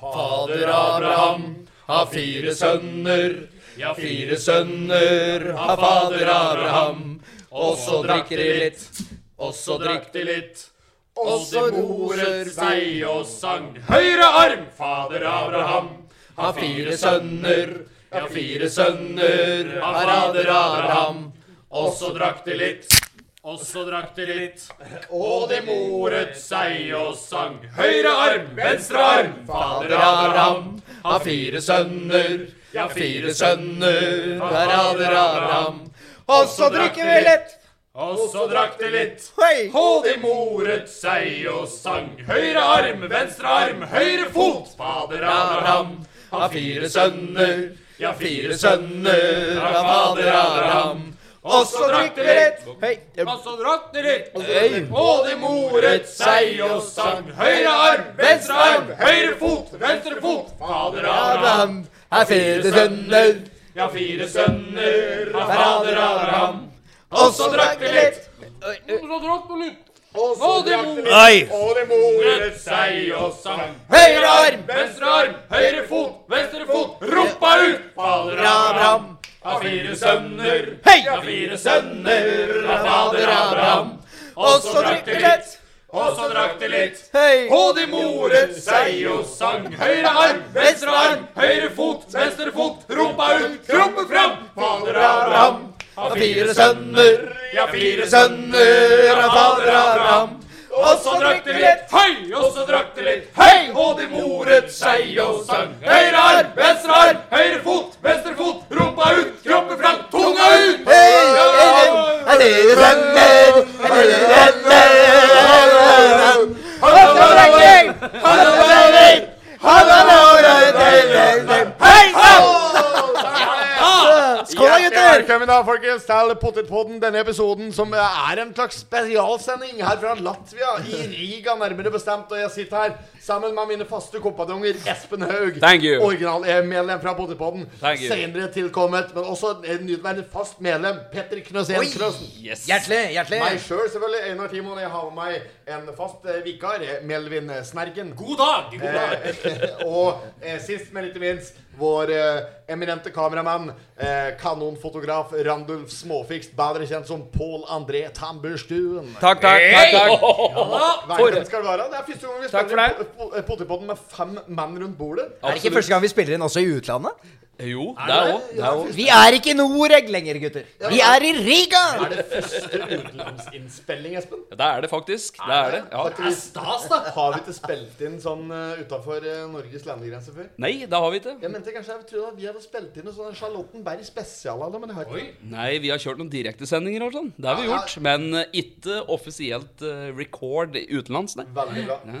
Fader Abraham har fire sønner. Ja, fire sønner har fader Abraham. Og så drakk de litt, og så drakk de litt. Og så moret seg og sang høyre arm, fader Abraham. Har fire sønner, ja, fire sønner har fader Abraham. Og så drakk de litt, og så drakk de litt. Og de moret seg og sang Høyre arm, venstre arm, fader Abraham Har fire sønner, ja fire sønner Fader Abraham Og så drikker vi litt og så drakk de litt, Hei! og de moret seg og sang. Høyre arm, venstre arm, høyre fot. Fader Abraham har fire sønner, ja fire sønner av fader Abraham. Og så drakk de litt, Hei! og så drakk de litt, Hei! og de moret seg og sang. Høyre arm, venstre arm, høyre fot, venstre fot. Fader Abraham Abraham har fire sønner, ja, fire sønner av fader Abraham. og så drakk vi litt. Og så drakk de litt, Nei! og de moret seg og sang. Høyre arm, venstre arm, høyre fot, venstre fot, rumpa ut! Fader Abraham Abraham. har fire sønner, Hei! har fire sønner av fader Abraham. Og så drakk vi litt. og så drakk de litt. Hei! Og de moret seg og sang. Høyre arm, venstre arm, høyre fot, venstre fot. Rumpa ut, kroppen fram. Fader Abraham har fire sønner, ja, fire sønner av fader Abraham. Og så drakk de litt, høy, og så drakk de litt, høy. Og de moret seg og sang. Høyre arm, venstre arm, høyre fot, venstre fot. Rumpa ut, kroppen fram, tunga ut. Hei! Hei! Har fire sønner, har fire sønner. Og så drakk vi litt. Og så drakk vi litt. Og så drakk vi litt. Hei! sann! Skål, da, gutter! Velkommen da, folkens, til Potetpodden. Denne episoden som eh, er en slags spesialsending her fra Latvia, i Riga nærmere bestemt. Og jeg sitter her sammen med mine faste kompanjonger Espen Haug, Thank you. originalmedlem fra Potetpodden. Thank you. Senere tilkommet, men også en nyutnevnt fast medlem, Petter Knøsén Krøsen. Yes. Hjertelig, hjertelig. Meg sjøl, selv, selvfølgelig. Einar Timon. Jeg har med meg en fast eh, vikar, eh, Melvin Snerken. God dag, god dag. Eh, og eh, sist, men ikke minst, vår eh, eminente kameramann, eh, kanonfotograf Randulf Småfikst, bedre kjent som Pål André Tamburstuen. Takk, takk, takk, takk. Velkommen skal du være. Det er første gang vi Takk spiller for po- po- Potipodden med fem menn rundt bordet. Er det ikke første gang vi spiller inn også i utlandet? Jo, det er òg. Ja, Vi er ikke i Noreg lenger, gutter. Vi er i Riga! Er det første utenlandsinnspilling, Espen? Det er det faktisk. Det er det. Ja. er stas, da! Har vi ikke spilt inn sånn uh, utafor Norges landegrense før? Nei, det har vi ikke. Jeg mente kanskje jeg trodde at vi hadde spilt inn noe sånn Charlottenberg spesial eller noe, men det har ikke Nei, vi har kjørt noen direktesendinger og sånn. Det har Ja, vi ja. gjort. Men eh, ikke offisielt eh, record utenlands, nei. Veldig bra.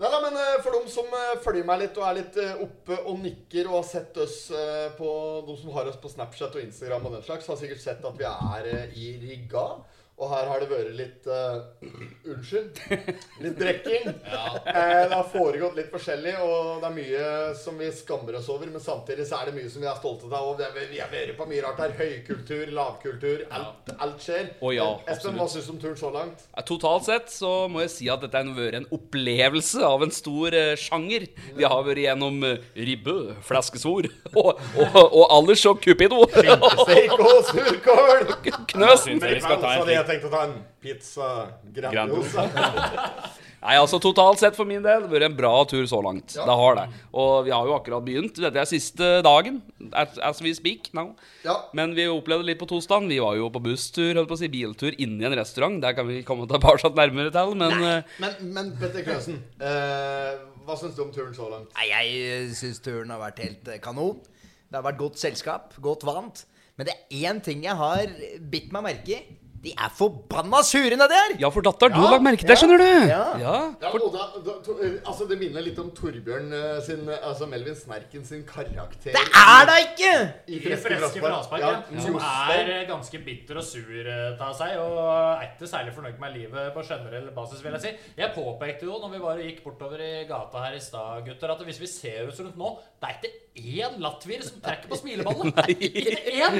Nei da, men eh, for dem som eh, følger meg litt og er litt eh, oppe og nikker og har sett oss eh, på De som har oss på Snapchat og Instagram og den slags, har sikkert sett at vi er eh, i Riga. Og her har det vært litt eh, Unnskyld. Litt drikking. Eh, det har foregått litt forskjellig, og det er mye som vi skammer oss over. Men samtidig så er det mye som vi er stolte av. Og det er- vi har vært på mye rart her. Høykultur, lavkultur. Alt, alt skjer. Eh, Å ja, Espen, hva syns du om turen så langt? Ja, Totalt sett så må jeg si at dette har vært en opplevelse av en stor eh, sjanger. Vi har vært gjennom eh, ribbe, flaskesvor og, og, og ellers og cupido. Steik og surkål! Knøs. Men så hadde jeg tenkt å ta en pizza Grandiosa. Nei, altså Totalt sett for min del vært en bra tur så langt. Det har det. Og vi har jo akkurat begynt. Dette er siste dagen. As, as we speak now. Ja. Men vi opplevde litt på tosdagen. Vi var jo på busstur, holdt på å si biltur, inn i en restaurant. Der kan vi komme tilbake nærmere til, men eh, Men, men Petter Knøsen, eh, hva syns du om turen så langt? Nei, jeg syns turen har vært helt eh, kanon. Det har vært godt selskap, godt vant. Men det er én ting jeg har bitt meg merke i. De er forbanna sure nedi her! Ja, for datteren, du har lagt merke til det, skjønner du. Ja. Ja, og da, da, to, altså Det minner litt om Torbjørn eh, sin eh, Altså Melvin Snerken sin karakter. Det er da ikke! I I Freske Fraspark, ja. Som er eh, ganske bitter og sur eh, av seg, og er ikke særlig fornøyd med livet på generell basis, vil jeg si. Jeg påpekte jo når vi bare gikk bortover i gata her i stad, gutter, at hvis vi ser oss rundt nå, det er ikke én latvier som trekker på smileballen. Ikke én!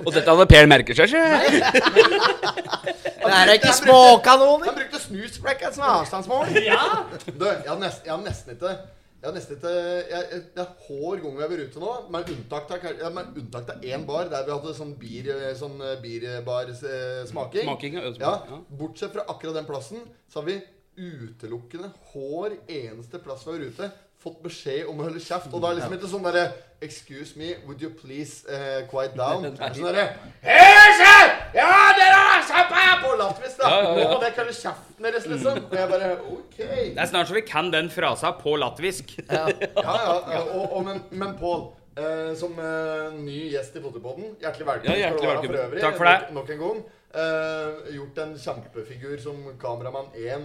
Og dette hadde Per merket seg, ikke? Det er da ikke småkanoner! Han brukte snusbrekk som avstandsmål. Ja! Du, jeg har nesten, jeg har nesten ikke jeg har nesten ikke jeg, jeg, Det er hver gang vi har vært ute nå, med unntak av ja, med unntak av én bar der vi hadde sånn bier, sånn bierbarsmaking. Smaking, ja, ølsmaking, ja. ja. Bortsett fra akkurat den plassen, så har vi utelukkende hver eneste plass vi har vært ute, fått beskjed om å holde kjeft. Og da er det liksom ikke sånn derre Excuse me, would you please eh, quiet down? Sånn derre «Hei, se! Ja, dere har kjeft her!» På latvisk, da. ja, ja. Nå kan jeg kalle kjeften deres, liksom. Og jeg bare OK. Det er snart så vi kan den frasa på latvisk. Ja, ja, ja. Og, og, men, men Pål, eh, som eh, ny gjest i Potterpodden, hjertelig velkommen. Ja, hjertelig skal du være velkommen. For øvrig, Takk for det. Nok, nok en gang. Eh, gjort en kjempefigur som kameramann 1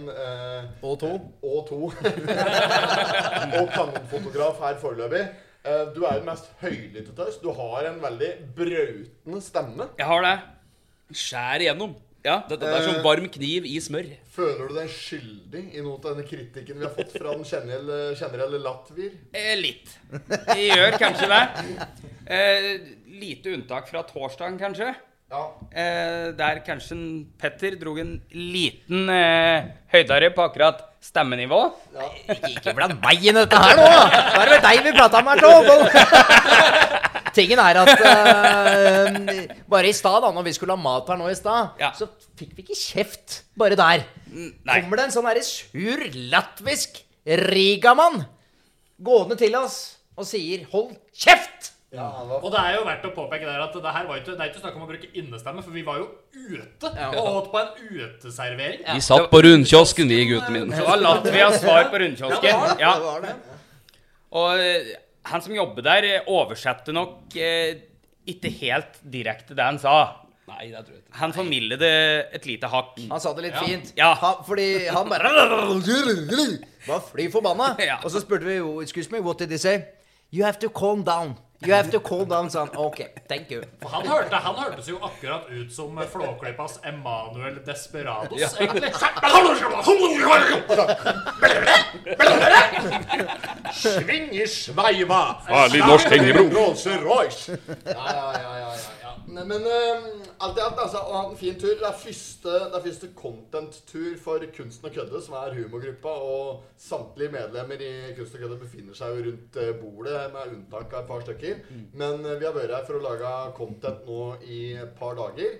Og to. og to. og kanonfotograf her foreløpig. Eh, du er den mest høylytte til oss. Du har en veldig brautende stemme. Jeg har det. Skjær igjennom. Ja, dette er som varm kniv i smør. Føler du deg skyldig i noe av denne kritikken vi har fått fra den generelle, generelle latvier? Eh, litt. Vi gjør kanskje det. Eh, lite unntak fra torsdagen, kanskje. Ja. Eh, der kanskje en Petter dro en liten eh, høydere på akkurat stemmenivå. Ikke blant meg inn i dette her nå! Da er det vel deg vi prata om her, Tom! Tingen er at eh, bare i stad, da når vi skulle ha mat her nå i stad, Ja. så fikk vi ikke kjeft bare der. Mm, nei. Kommer det en sånn herre sur latvisk rigamann gående til oss og sier 'hold kjeft'! ja han var Og det er jo verdt å påpeke der at det her var jo ikke, det er ikke snakk om å bruke innestemme, for vi var jo ute og åt på en uteservering. Vi satt på rundkiosken, vi guttene mine. Det var Latvias svar på rundkiosken. Ja. Og eh, han som jobber der, eh, oversatte nok eh, ikke helt direkte det han sa. Nei, det tror jeg ikke. Han formidlet det et lite hakk. Han sa det litt fint. Ja. Han, fordi han bare Var fly forbanna. Ja. Og så spurte vi jo, Excuse me, what did they say? You have to calm down. You have to calm down, sa han. Ok, thank you. For han, hørte, han hørtes jo akkurat ut som Flåklypas Emanuel Desperados, egentlig. Sving i sveiva! Farlig norsk hengebro. Rolls-Royce. Ja, ja, ja, ja, ja, ja. Nei, men eh, alt i alt, altså, å ha en fin tur. Det er første, det er første content-tur for Kunsten og kødde, som er humorgruppa. Og samtlige medlemmer i Kunsten og kødde befinner seg jo rundt eh, bordet, med unntak av et par stykker. Men eh, vi har vært her for å lage content nå i et par dager.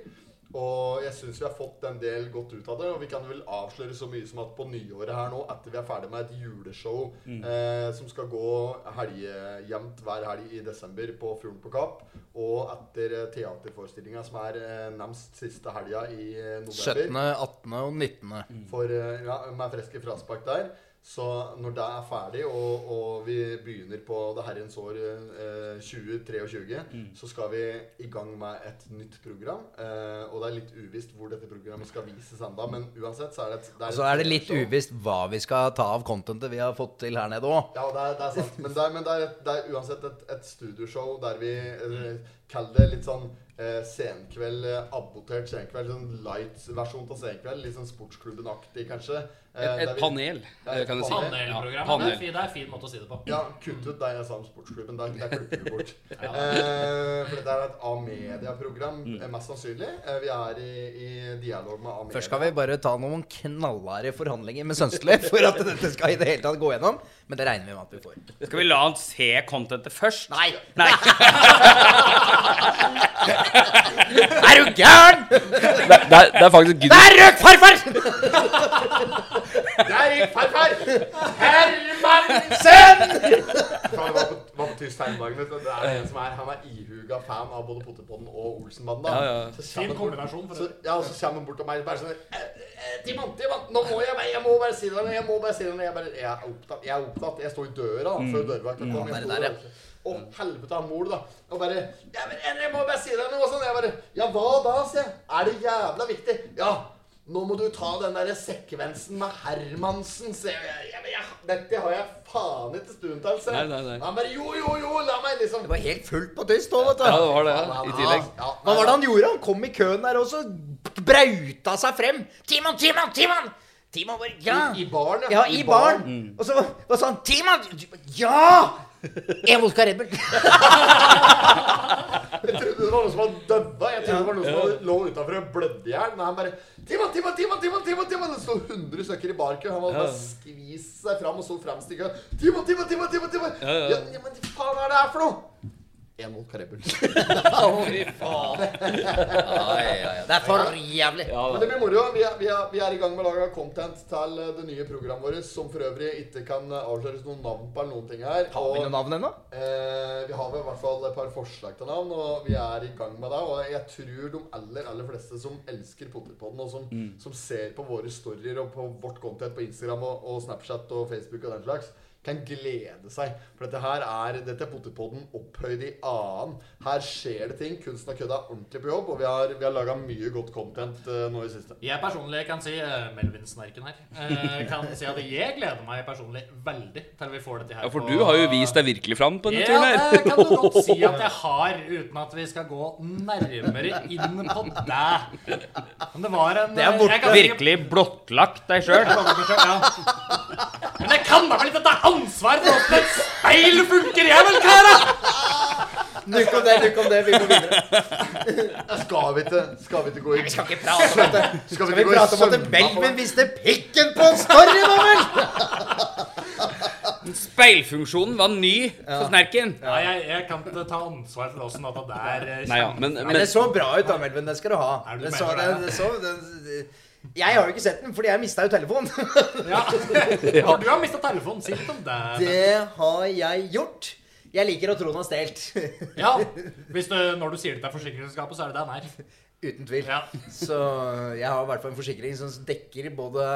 Og jeg syns vi har fått en del godt ut av det. Og vi kan vel avsløre så mye som at på nyåret her nå, etter vi er ferdig med et juleshow eh, som skal gå helgejevnt hver helg i desember på Fuglen på Kapp, og etter eh, teaterforestillinga som er eh, nærmest siste helga i eh, november 17., 18. og Mm. 19. for, eh, ja, med freske fraspark der. Så når det er ferdig, og, og vi begynner på det herrens år eh, 2023, Mm. så skal vi i gang med et nytt program. Eh, og det er litt uvisst hvor dette programmet skal vises enda, men uansett så er det et, det Så Altså, er det litt show. uvisst hva vi skal ta av contentet vi har fått til her nede òg. Ja, det er, det er sant. Men det er, men det er, det er uansett et, et studioshow der vi eh, kaller det litt sånn eh, senkveld, eh, abbotert senkveld, sånn light-versjon av senkveld. Litt sånn sportsklubben-aktig, kanskje. Eh, Et, der et vi- panel, Ja, eh, kan du si. Ja, Panelprogrammet. Det er panel. fi- Det er en fin måte å si det på. Ja, kutt ut deg jeg sa om sportsklubben. Der, der klipper vi bort. eh, for dette er et A-media-program, Mm. eh, mest sannsynlig. Eh, vi er i, i dialog med A-media. Først skal vi bare ta noen knallharde forhandlinger med Sønstelig for at dette skal i det hele tatt gå gjennom. Men det regner vi med at vi får. Skal vi la han se contentet først? Nei! Nei. Er du gæren?! Det, det, er- det er faktisk Gud. Der røk farfar! Der gikk farfar! Hermansen! Han var på, var på tysk tegnelagen, vet du. Det er en som er, han er ihuga fan av både Potterpodden og Olsenbanden. da. Så kommer Fin kombinasjon, for Så, øvrig. ja, og så kommer han bort til meg bare sånn eh, eh, Timon, Timon, nå må jeg, jeg må bare si det. Jeg må bare si det. Jeg, bare, jeg, er, opptatt, jeg er opptatt. Jeg står i døra da, før dørvakta kom. Mm. Ja, Jeg det sto der, i ja. døra. Å, helvete, han mor, da. Og bare ja, men, jeg- 'Jeg må bare si deg noe.' Sånn. Jeg bare 'Ja, hva da?' sier jeg. 'Er det jævla viktig?' 'Ja, nå må du ta den derre sekvensen med Hermansen', sier jeg. Ja, men jeg dette har jeg faen ikke stund til, sier jeg. Nei, nei, nei. Han bare 'Jo, jo, jo, la meg liksom Det var helt fullt på tyst nå, vet du. Ja, det var det. ja, Ja, I ja, tillegg. ja, Hva var det ja. han gjorde? Han kom i køen der og så brauta seg frem. Timon, Timon, Timon! Timon bare Ja! I, I baren, Ja, i baren. Mm. Og så var sånn Timon! Ja! En vodka Red Bull. Jeg trodde det var noen som var dødda. Jeg trodde det var noen som hadde- lå utenfor og blødde i hjel. Men han bare Timon, Timon, Timon, Timon, Timon, Timon! Det sto 100 stykker i barkø. Han hadde bare skvist seg fram og så fremst i kø. Timon, Timon, Timon, Timon! Timon! Ja, ja. ja, men hva faen er det her for noe? En mot Karebul. Det er for jævlig. Men det blir moro. Vi er, vi, er, vi er i gang med å lage content til eh, det nye programmet vårt, som for øvrig ikke kan eh, avsløres noen navn på eller noen ting her. Har vi noe navn ennå? Eh, vi har vel i hvert fall et par forslag til navn, og vi er i gang med det. Og jeg tror de aller aller fleste som elsker Potterpodden, og som, som ser på våre storyer og på vårt content på Instagram og, og Snapchat og Facebook og den slags, kan glede seg. For dette her er Dette er Potterpodden opphøyd i annen. Her skjer det ting. Kunsten og kødda er ordentlig på jobb, og vi har, vi har laga mye godt content eh, nå i det siste. Jeg personlig kan si eh, Melvin-snerken her. eh, Kan si at jeg gleder meg personlig veldig til vi får dette her. Ja, for på- du har jo vist deg virkelig fram på denne Ja, turen her. det kan du godt si at jeg har, uten at vi skal gå nærmere inn på det. Men det var en eh, er borte. jeg kan si- Virkelig blottlagt deg sjøl. Jeg kommer til å skjø- Ja. Men jeg kan da vel ikke ta ansvar for åssen et speil funker, jeg vel, kara! Nukk om det, nukk om det. Vi går videre. Skal vi ikke, skal vi ikke gå i Vi skal ikke prate om at det- Skal Skal vi prate om at det- Melvin visste pikken på en story, da vel! Speilfunksjonen var ny for snerken. Nei, jeg, jeg kan ikke ta ansvar for åssen dette der eh, Nei, ja, men, Men det men så bra ut da, Melvin. Det skal du ha. Er det du Det så, mener det? det, det så, det, jeg har jo ikke sett den, fordi jeg mista jo telefonen. Ja. For du har mista telefonen. Si litt om det. Det har jeg gjort. Jeg liker å tro den har stjålet. Ja. Hvis du, når du sier det til forsikringsselskapet, så er det det han er. Uten tvil. Ja. Så jeg har i hvert fall en forsikring som dekker både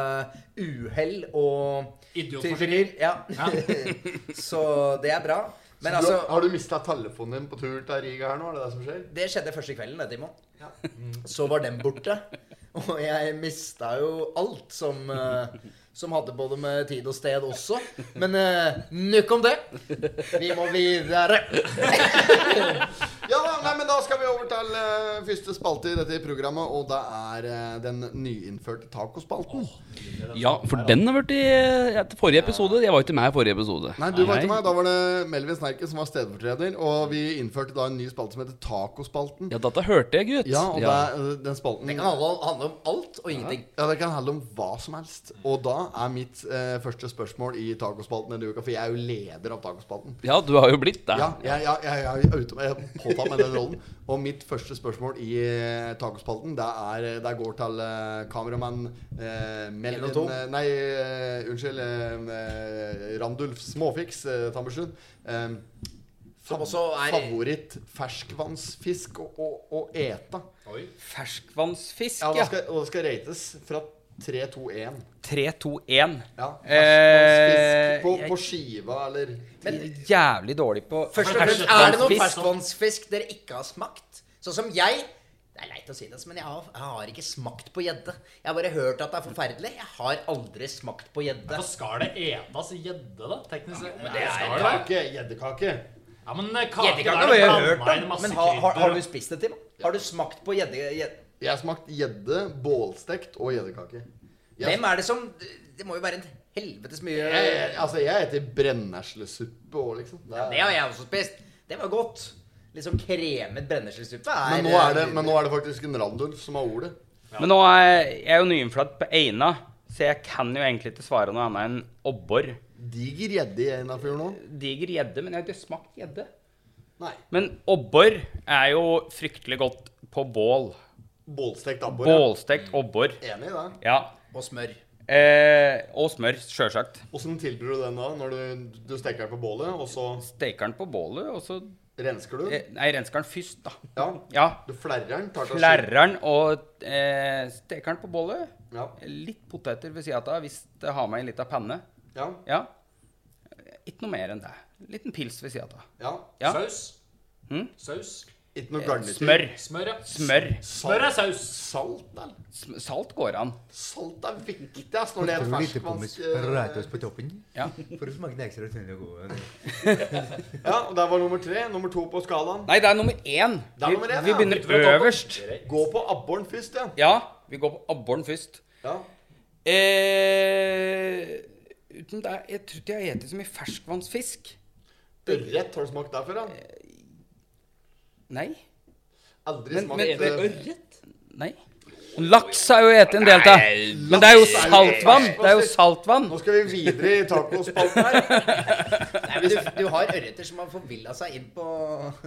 uhell og Idiotforsikring. tyverier. Ja. Så det er bra. Men altså Har du mista telefonen din på tur til Riga her nå? Er det det som skjer? Det skjedde første kvelden, det, Timon. Så var den borte. Og jeg mista jo alt som, eh, som hadde både med tid og sted også. Men uh, nok om det. Vi må videre. Ja, da, nei, men da skal vi over til eh, første spalte i dette programmet, og det er eh, den nyinnførte tacospalten. Ja, for den har vært i eh, etter forrige episode. Jeg var ikke med i forrige episode. Nei, du var ikke meg. Da var det Melvin Snerken som var stedfortreder, og vi innførte da en ny spalte som heter Tacospalten. Ja, dette hørte jeg, gutt. Ja, og det Ja. er eh, den spalten Det kan handle om, handle om alt og ingenting. Ja, Det kan handle om hva som helst. Og da er mitt eh, første spørsmål i tacospalten denne uka, for jeg er jo leder av tacospalten. ja, du har jo blitt det. Ja, jeg, jeg, jeg, jeg, er ute med- jeg påtar meg den rollen. Og mitt første spørsmål i eh, tacospalten, det er Det går til eh, kameramann eh, Melvin En og to. eh, Nei, eh, unnskyld. Eh, eh, Randulf Småfiks eh, Tammersund. Eh, Som også er- Favoritt ferskvannsfisk å, å, å ete. Ferskvannsfisk, Ja, ja. det skal, og det skal rates fra 3, 2, 1. 3, 2, 1. Ja, Eh, ferskvannsfisk på, jeg- på skiva eller Jævlig dårlig på Først og fremst, er det noe ferskvannsfisk dere ikke har smakt? Sånn som jeg Det er leit å si det, men jeg har, jeg har ikke smakt på gjedde. Jeg har bare hørt at det er forferdelig. Jeg har aldri smakt på gjedde. Så skal det etes gjedde, da? Teknisk sett. Men det skal det være. Gjeddekake. Gjeddekake. Ja, men eh, kake Gjeddekake der har jeg blander hørt man om, masse men har, har, krydder. har du spist det, Tim? Har du smakt på gjedde... gjedde- Jeg har smakt gjedde, bålstekt og gjeddekake. Jeg- Hvem er det som Det må jo være en helvetes mye Jeg, jeg, altså, jeg heter brenneslesuppe òg, liksom. Det er- Det har jeg også spist. Det var godt. Litt sånn kremet brenneslesuppe er eh, men, nå er det, men nå er det faktisk en Randulf som har ordet. Men nå er jeg er jo nyinnflatt på Eina, så jeg kan jo egentlig ikke svare noe annet enn abbor. Diger gjedde i Einafjorden nå. Diger gjedde, men jeg har ikke smakt gjedde. Nei. Men abbor er jo fryktelig godt på bål. Bålstekt abbor. ja. Bålstekt abbor. Enig i det. Ja. Og smør. Eh, og smør, sjølsagt. Åssen tilbyr du den da, når du, du steker den på bålet, og så Steker den på bålet, og så Rensker du? Eh, Nei, rensker den først, da. Ja. Ja. Du flerrer den? tar til å skyte. Flerrer den og eh, steker den på bollet. Ja. Litt poteter ved sida av hvis det har med en liten penne. Ja. Ja. Ikke noe mer enn det. Liten pils ved sida av. ja. Ja. Saus. Hm? Saus. Ikke noe garnityr? Smør. Smør, ja. Smør. Smør er saus. Salt, eller? Sm- Salt går an. Salt er viktig, ass, når det er ferskvansk. eh, på toppen. Ja. For å smake den ekstra tunne gode. Ja, og der var nummer tre. Nummer to på skalaen. Nei, det er nummer én. Det er Vi, nummer én, vi ja. begynner Begynner på toppen. øverst. Gå på abboren først, ja. Ja, vi går på abboren først. ja. Eh, uten det, jeg tror ikke jeg har spist så mye ferskvannsfisk. Ørret, har du smakt det før? Ja? Nei. Aldri Men- smakt men- eh, Nei. Laks har jo spist en del av. Men det er jo saltvann. Det er jo saltvann. Nå skal vi videre i tacospalten her. Nei, men du, du har ørreter som har forvilla seg inn på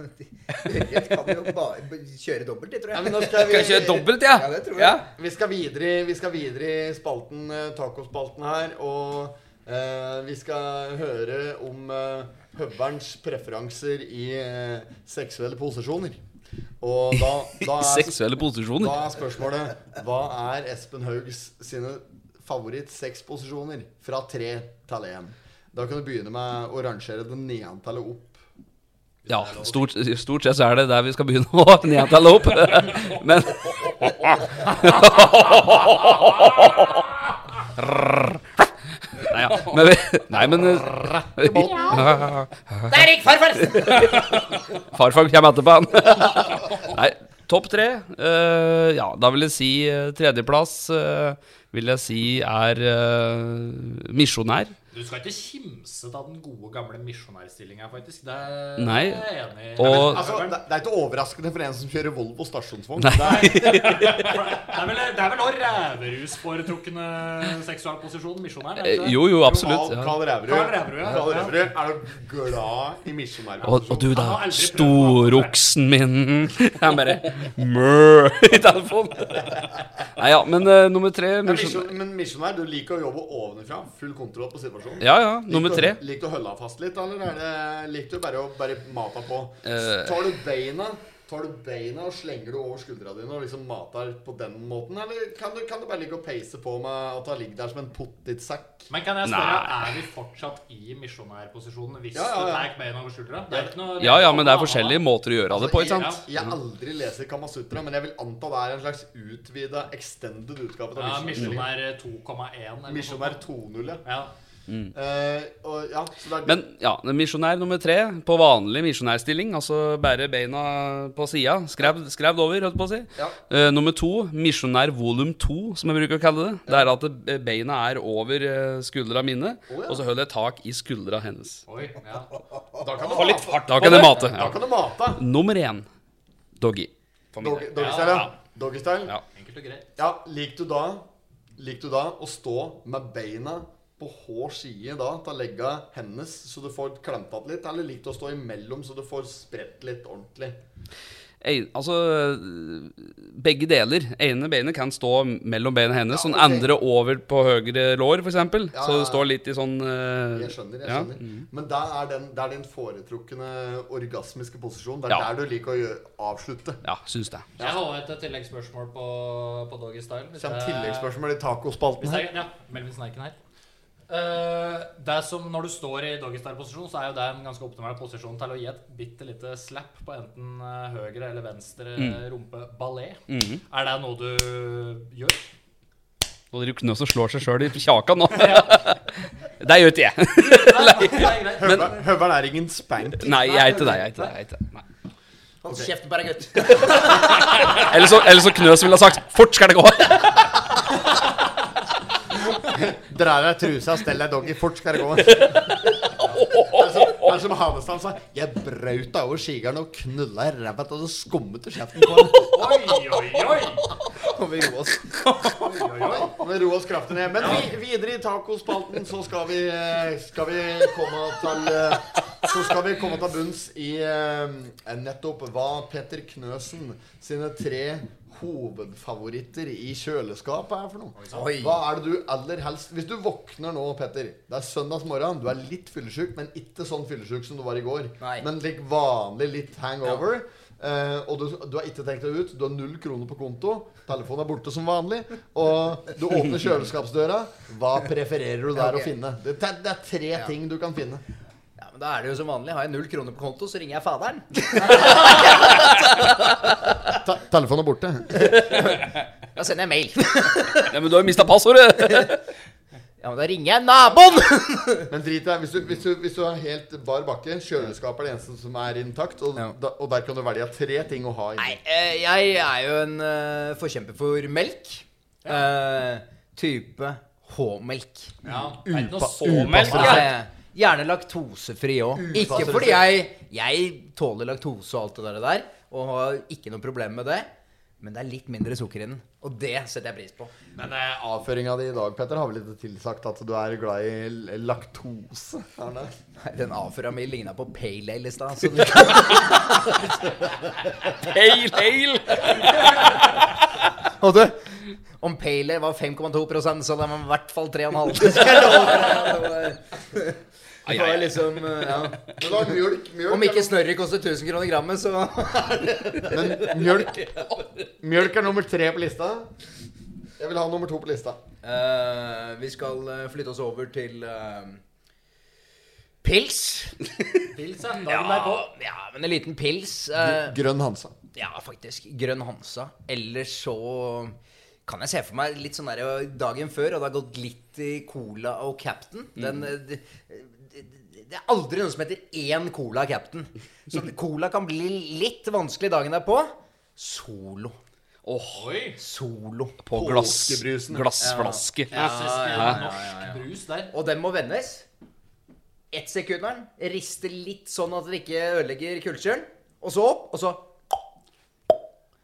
Ørret kan jo bare b- kjøre dobbelt, det tror Ja, jeg. men nå skal vi, Skal jeg kjøre dobbelt, ja? Ja, det tror jeg. Ja. Vi skal videre, vi skal videre i spalten, eh, tacospalten her, og eh, vi skal høre om eh, høverens preferanser i eh, seksuelle posisjoner. Og da, da er Seksuelle posisjoner. Da er spørsmålet Hva er Espen Haugs sine favoritt-sexposisjoner fra tre til én? Da kan du begynne med å rangere det nedantallet opp. Ja, stort, stort sett så er det der vi skal begynne å nedtelle opp. Men Nei, ja. men, vi- nei, men eh, Der gikk farfar! Farfar kommer etterpå, han. Nei, topp tre. eh, ja, da vil jeg si eh, tredjeplass eh, vil jeg si er eh, misjonær. Du skal ikke kimse av den gode, gamle misjonærstillinga, faktisk. Det er Nei, jeg er enig i. og- Altså, det, det er ikke overraskende for en som kjører Volvo stasjonsvogn. Nei. Det er vel, det er vel også ræverhus foretrukne seksualposisjon, misjonæren? er det Eh, ikke det? jo, jo, absolutt. Ja. Karl Ræverud. Karl Ræverud, ja. Karl Ræverud, Er du glad i Og, og misjonærposisjon? du da, storoksen min Han bare Mø i telefonen. Nei ja, men eh, nummer tre Men misjon- misjon- Men misjonær, du liker å jobbe ovenfra. Full kontroll på situasjonen. Ja ja, nummer tre. Liker du å holde fast litt, eller er det, liker du bare å bare mate på? Eh. Tar du beina Tar du beina og slenger du over skuldra dine og liksom mater på den måten? Eller kan du, kan du bare ligge og peise på med at han ligger der som en potetsekk? Men kan jeg spørre, Nei. er vi fortsatt i misjonærposisjonen hvis Ja, ja, du ja. tar beina over skuldra? Det er ikke noe Ja ja, men det er forskjellige måter å gjøre det på, ikke jeg, sant? jeg har aldri leser Kamasutra, men jeg vil anta det er en slags utvida, extended utgave Ja, av Misjonær. misjonær 2,1 eller noe sånt. Misjonær 2.0, ja. Ja. Eh, og, ja så det er, Mm. Men ja, misjonær nummer tre på vanlig misjonærstilling, altså bære beina på sida. Skrev, skrev det over, holdt på å si. Ja. Eh, nummer to, misjonær volum to, som jeg bruker å kalle det. Det er at eh, beina er over eh, skuldra mine, ja. og så holder jeg tak i skuldra hennes. Oi, ja. da kan du mate. Litt fart Da på kan jeg det. mate. Da Ja. kan du mate. Nummer én, doggy. For min Doggy- del. Doggystyle, ja. Doggystyle. Ja. Enkelt og greit. Ja, liker du da Liker du da å stå med beina på hår side da til å legge hennes, så du får klemt att litt? Eller liker du å stå imellom, så du får spredt litt ordentlig? Ei- Altså eh, begge deler. Ene beinet kan stå mellom beina hennes, Ja, sånn ok. andre over på høyre lår, f.eks. Ja, Så ja, det ja. står litt i sånn eh, Jeg skjønner. jeg ja. Mm. skjønner Men det er, den, det er din foretrukne orgasmiske posisjon. Det er Ja. der du liker å gjø- avslutte. Ja, syns det. Jeg har et tilleggsspørsmål på, på Doggy Style. hvis Kjem jeg- tilleggsspørsmål i tacospalten Eh. Hvis her. jeg, ja, Melvin Snerken her. Eh, det er som Når du står i doggystyle-posisjon, så er jo det en ganske optimal posisjon til å gi et bitte lite slap på enten eh, høyre eller venstre rumpe-ballet. Er det noe du gjør? Nå er det jo ikke noe som slår seg sjøl i kjaka nå. det gjør ikke jeg. Nei, det er greit. Høveren høveren er ingen spank. Nei, jeg er ikke det. jeg er ikke det, jeg er ikke det. Nei. Hold kjeften bare, gutt. Eller så, eller så Knøs ville ha sagt 'fort skal det gå'. Dra av deg trusa, stell deg doggy, fort skal det gå. Det er som- det er som Havestad sa. Jeg braut deg over skigeren og knulla i ræva til du skummet i kjeften på den. Oi, oi, oi! Nå må vi roe oss. Nå må vi roe oss kraftig ned. Men vi, videre i tacospalten så skal vi, eh, skal vi komme til eh, Så skal vi komme til bunns i eh, nettopp hva Petter Knøsen sine tre hovedfavoritter i kjøleskapet er for noe. Oi. Hva er det du aller helst Hvis du våkner nå, Petter Det er søndags morgen, du er litt fyllesyk, men ikke sånn fyllesyk som du var i går. Nei. Men lik vanlig litt hangover. Eh, og du, du har ikke tenkt deg ut. Du har null kroner på konto. Telefonen er borte som vanlig. Og du åpner kjøleskapsdøra. Hva prefererer du der Ok. å finne? Det, det, er- det er tre Ja. ting du kan finne. Ja, men Da er det jo som vanlig. Har jeg null kroner på konto, så ringer jeg faderen. Te telefonen er borte. Da sender jeg mail. Ja, men du har jo mista passordet! Ja, men da ringer jeg naboen! Men drit i det. Hvis du, hvis, du, hvis du har helt bar bakke, kjøleskapet er det eneste som er intakt, og, Ja. da, og der kan du velge tre ting å ha Nei, inni. eh, jeg er jo en eh, forkjemper for melk. Eh, type H-melk. Ja, det er ikke noe så Melk, Ja, ja. ja. Gjerne laktosefri òg. Ikke fordi jeg Jeg tåler laktose og alt det der, der, og har ikke noe problem med det. Men det er litt mindre sukker i den, og det setter jeg pris på. Men eh, avføringa di i dag, Petter, har vel ikke tilsagt at du er glad i l- laktose? Er det? Nei, Den avføra mi ligna på pale ale i stad. så det- Hail, hail! Og du, Om pale ale var 5,2 så hadde man i hvert fall 3,5. Det skal jeg love deg. Det var- Det var liksom eh, ja. Men da, mjølk, mjølk, Om ikke snørret koster 1000 kroner grammet, så Men mjølk, mjølk er nummer tre på lista. Jeg vil ha nummer to på lista. Eh, Vi skal eh, flytte oss over til eh, pils. pils, ja. Dagen derpå. Ja, ja, men en liten pils. eh, Grønn Hansa. ja, faktisk. Grønn Hansa. Ellers så kan jeg se for meg litt sånn der eh, dagen før, og det har gått litt i Cola og Captain. Mm. Den, eh, det, det, det er aldri noe som heter én Cola Captain. Så Cola kan bli litt vanskelig dagen derpå. Solo. Oi! Solo. På glass, Påskebrusen. glassflaske. Klassisk eh, ja, ja, norsk brus der. Og den må vendes. Ett sekunderen. Riste litt sånn at det ikke ødelegger kullkjølen. Og så opp, og så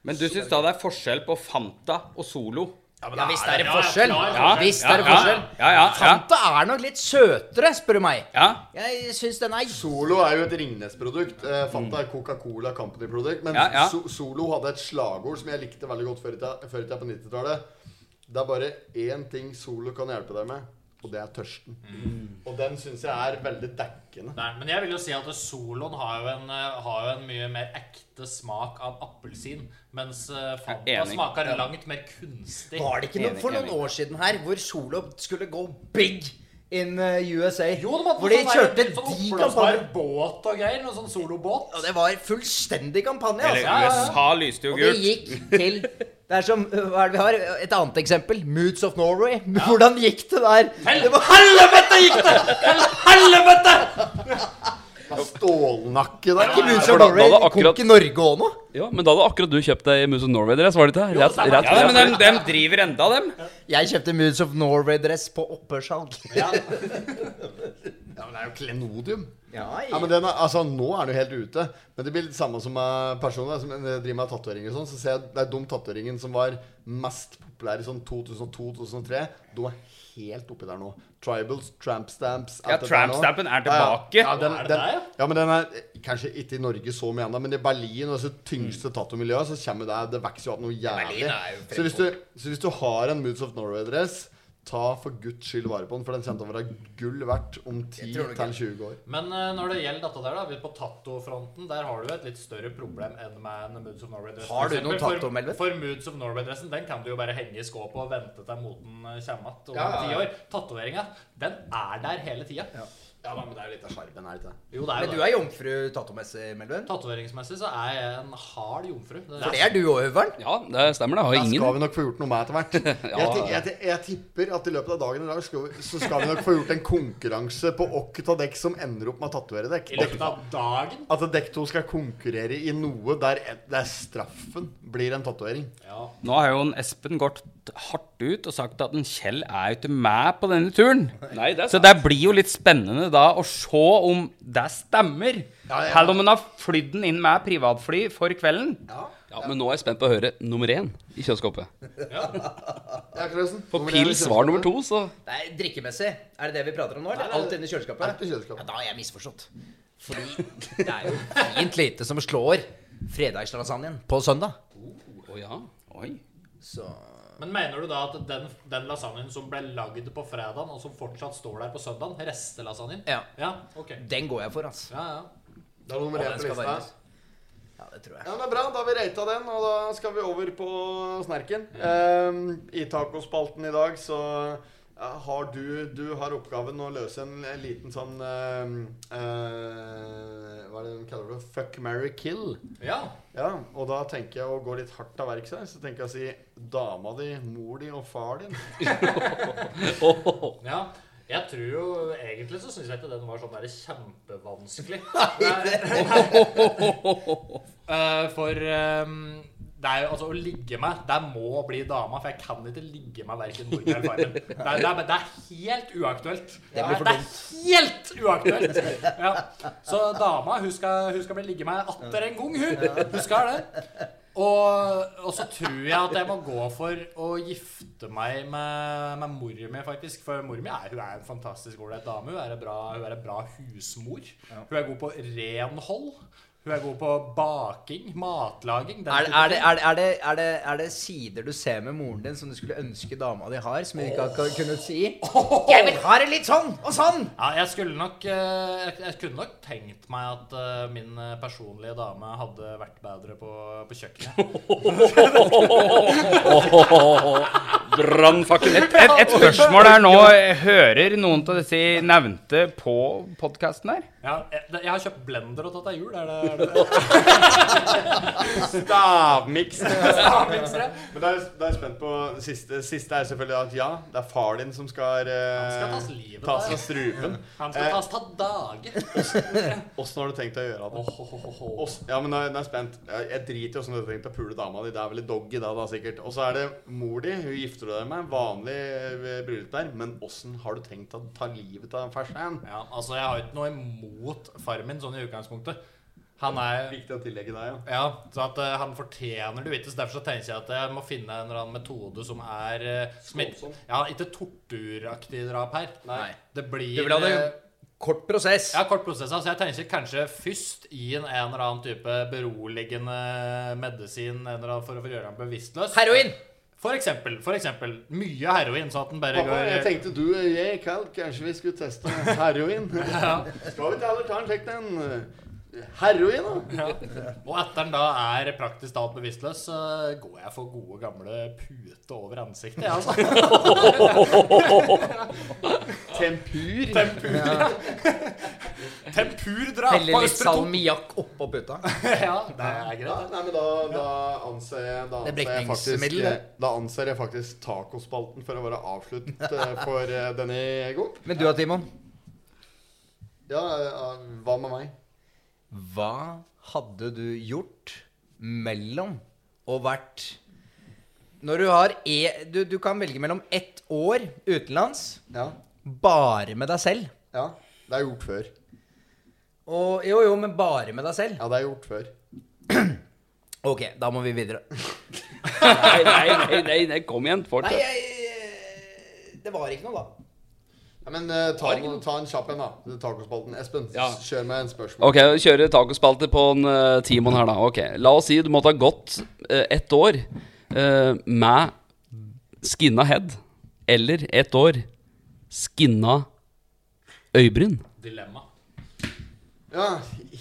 Men du syns da det er forskjell på Fanta og Solo? Ja, men Ja, visst er det forskjell. Ja, Ja, Visst ja, er det forskjell. Ja, ja, ja. Fanta er nok litt søtere, spør du meg. ja. Jeg syns den er Solo er jo et Ringnes-produkt. Eh, Fanta er Coca-Cola Company-produkt. Men Ja, ja. So Solo hadde et slagord som jeg likte veldig godt før i tida, før i tida på 90-tallet. Det er bare én ting Solo kan hjelpe deg med, og det er tørsten. Og den syns jeg er veldig dekkende. Nei, men jeg vil jo si at Solon har jo en, eh, har jo en mye mer ekte smak av appelsin. Mens eh, Jeg er Fanta enig. smaker langt mer kunstig. Var det ikke noe Enig, for noen enig. år siden her hvor Solo skulle gå big in eh, USA? Jo, de hadde hvor de sånn der- kjørte sånn de oppblåsbar kampanjer. båt og greier. Noe sånn solobåt. Og det var fullstendig kampanje, altså. Eller USA lyste jo Og det gult. gikk til Det er som eh, Hva er det vi har? Et annet eksempel. Moods of Norway. Hvordan gikk det der? Det var helvete gikk det! Til helvete! Stålnakke Det er ikke der. Moods for of da- da Norway. hadde Det kom akkurat- ikke Norge òg nå? Ja, men da hadde akkurat du kjøpt deg Moose of Norway-dress, var det ikke? det? Rett, rett, Ja, rett, men dem, dem driver enda, dem. Jeg kjøpte Moods of Norway-dress på opphørssalg. Ja, Ja, men det er jo klenodium. Ja, ja. men den er, altså, Nå er den jo helt ute. Men det blir litt samme som med personer som eh, driver med tatoveringer. og Sånn, så ser jeg at det er de tatoveringen som var mest populær i sånn 2002-2003. De er helt oppi der nå. Tribals, tramp stamps Ja, alt det der nå. trampstampen er tilbake. Ja, ja. Ja, den, Er det den, der, ja? ja, men den er eh, kanskje ikke i Norge så mye ennå, men i Berlin og det Mm. tyngste tatovmiljøet, så kommer det Det vokser jo opp noe jævlig. Så hvis, du, så hvis du har en Moods of Norway-dress, ta for guds skyld vare på den, for den kommer til å være gull verdt om 10-20 år. Men eh, når det gjelder dette der, da, vi på tattofronten, der har du jo et litt større problem enn med en Moods of Norway-dress. Har For du eksempel, noen for- tatto, Melvin? For Moods of Norway-dressen, den kan du jo bare henge i skåpet og vente til moten eh, kommer att om Ja, ja, ti ja. år. Tatoveringa, den er der hele tida. Ja, men det er jo litt av sjarmen her, ikke sant? Jo, det er Men jo du det. er jomfru tatomessig, Melvin? Tatoveringsmessig så er jeg en hard jomfru. Det For det er du òg, Øveren. Ja, det stemmer, det. Jeg Der har skal ingen. vi nok få gjort noe med etter hvert. Ja. Jeg, ti- jeg, ti- jeg tipper at i løpet av dagen i dag skal vi, så skal vi nok få gjort en konkurranse på åkket av dekk som ender opp med å tatovere dekk. I løpet av dagen. At dekk to skal konkurrere i noe der, der straffen blir en tatovering. Ja. Nå har jo en Espen gått hardt ut og sagt at en Kjell er jo ikke med på denne turen. Nei, det er Så det blir jo litt spennende da å se om det stemmer. Ja, ja. Selv om en har flydd den inn med privatfly for kvelden. Ja, men nå er jeg spent på å høre nummer én i kjøleskapet. Ja, Klausen. For pils var nummer to, så Nei, drikkemessig. Er det det vi prater om nå? Eller? Alt inni kjøleskapet? Alt i kjøleskapet. Ja, da har jeg misforstått. Fordi det er jo fint lite som slår fredagslasagnen på søndag. Å ja. Oi. Så Men mener du da at den, den lasagnen som ble lagd på fredagen, og som fortsatt står der på søndagen, restelasagnen Ja. ja. Ok. den går jeg for, altså. Ja, ja. Det er nummer Og én den på skal lista. varmes. Ja, det tror jeg. Ja, men det er bra. Da har vi rata den, og da skal vi over på snerken. Mm. Ehm, I tacospalten i dag så ja, har du, du har oppgaven å løse en liten sånn ehm, eh, Hva er det de kaller det? Fuck, marry, kill. ja. Ja, og da tenker jeg å gå litt hardt av verks her. Så tenker jeg å si dama di, mor di og far din. ja. Jeg tror jo, Egentlig så syns jeg ikke den var sånn der kjempevanskelig. Eh, for ehm, det er jo, altså, å ligge med Det må bli dama, for jeg kan ikke ligge med verken mor eller far min. Det, er- det, er- det er helt uaktuelt. Det, blir for er helt uaktuelt! Ja. Så dama, hun skal, hun skal bli ligge med atter en gang, hun. Hun skal det. Og, og så tror jeg at jeg må gå for å gifte meg med, med mor mi, faktisk. For mor mi er, hun er en fantastisk ålreit dame. Hun er, en bra, hun er en bra husmor. Hun er god på renhold. Hun er god på baking, matlaging. den Er, det- type er, det, er, det, er, det, er, det, er det sider du ser med moren din som du skulle ønske dama di har, som hun ikke har kunnet si? Jeg vil ha det litt sånn og sånn! Ja, jeg skulle nok eh, Jeg jeg kunne nok tenkt meg at eh, min eh, personlige dame hadde vært bedre på, på kjøkkenet. Et, et, et spørsmål her nå. Hører noen av disse nevnte på podkasten her? Ja, jeg, jeg har kjøpt blender og tatt deg jul. Er det, er det Stavmiks. stavmiksere? Men da er, da er jeg spent på det siste. Siste er selvfølgelig at ja, det er far din som skal eh, skal tas livet tas av. av strupen. Han skal Eh. tas ta dager. Åssen har du tenkt å gjøre det? Ohohoho. Ås- Ja, men nå er nå er jeg spent. Jeg jeg driter i åssen du har tenkt å pule dama di. Det er vel et doggy da, da sikkert. Og så er det mor di. Hun gifter du deg med. Vanlig eh, bryllup der. Men åssen har du tenkt å ta livet av farsan? Ja, altså, jeg har ikke noe imot far min sånn i utgangspunktet. Han er Viktig å tillegge deg, ja. Ja, så at eh, han fortjener det jo ikke. Så derfor så tenker jeg at jeg må finne en eller annen metode som er eh, som ikke- Skånsom. Ja, ikke torturaktig drap her. Nei. Det blir Du vil ha det eh, kort prosess. Ja, kort prosess. Altså, jeg tenker kanskje først gi en, en eller annen type beroligende medisin en eller annen, for å gjøre ham bevisstløs. Heroin! For eksempel. For eksempel. Mye heroin, sånn at den bare går Pappa, jeg tenkte du og jeg, Carl, kanskje vi skulle teste heroin. Skal vi til alle ta en sjekk den? eh, Heroin, da? Og etter den da er praktisk talt bevisstløs, så går jeg for gode gamle pute over ansiktet, jeg, altså. Tempur? Tempurdrap Helle litt salmiakk oppå puta. Ja, det er Ja, greit. nei, men da, da anser jeg Da Det er anser jeg faktisk, eh, brekningsmiddel, det. da anser jeg faktisk tacospalten for å være avsluttet eh, for eh, denne gang. Men du da, Timon? Ja, eh, hva med meg? Hva hadde du gjort mellom og vært Når du har e, du, du kan velge mellom ett år utenlands Ja, bare med deg selv. ja. Det er gjort før. Og jo, jo, men bare med deg selv. Ja, det er gjort før. Ok, da må vi videre. Nei, nei, nei, nei, nei, kom igjen. Nei, Fortsett. jeg Det var ikke noe, da. Ja, men eh, ta, en- ta en kjapp en, da. Tacospalten. Espen, Ja. kjør med en spørsmål. Ok, kjøre tacospalte på en uh, Timon her, da. Ok, La oss si du måtte ha gått eh, ett år eh, med skinna head, eller ett år skinna øyebryn. Dilemma. Ja,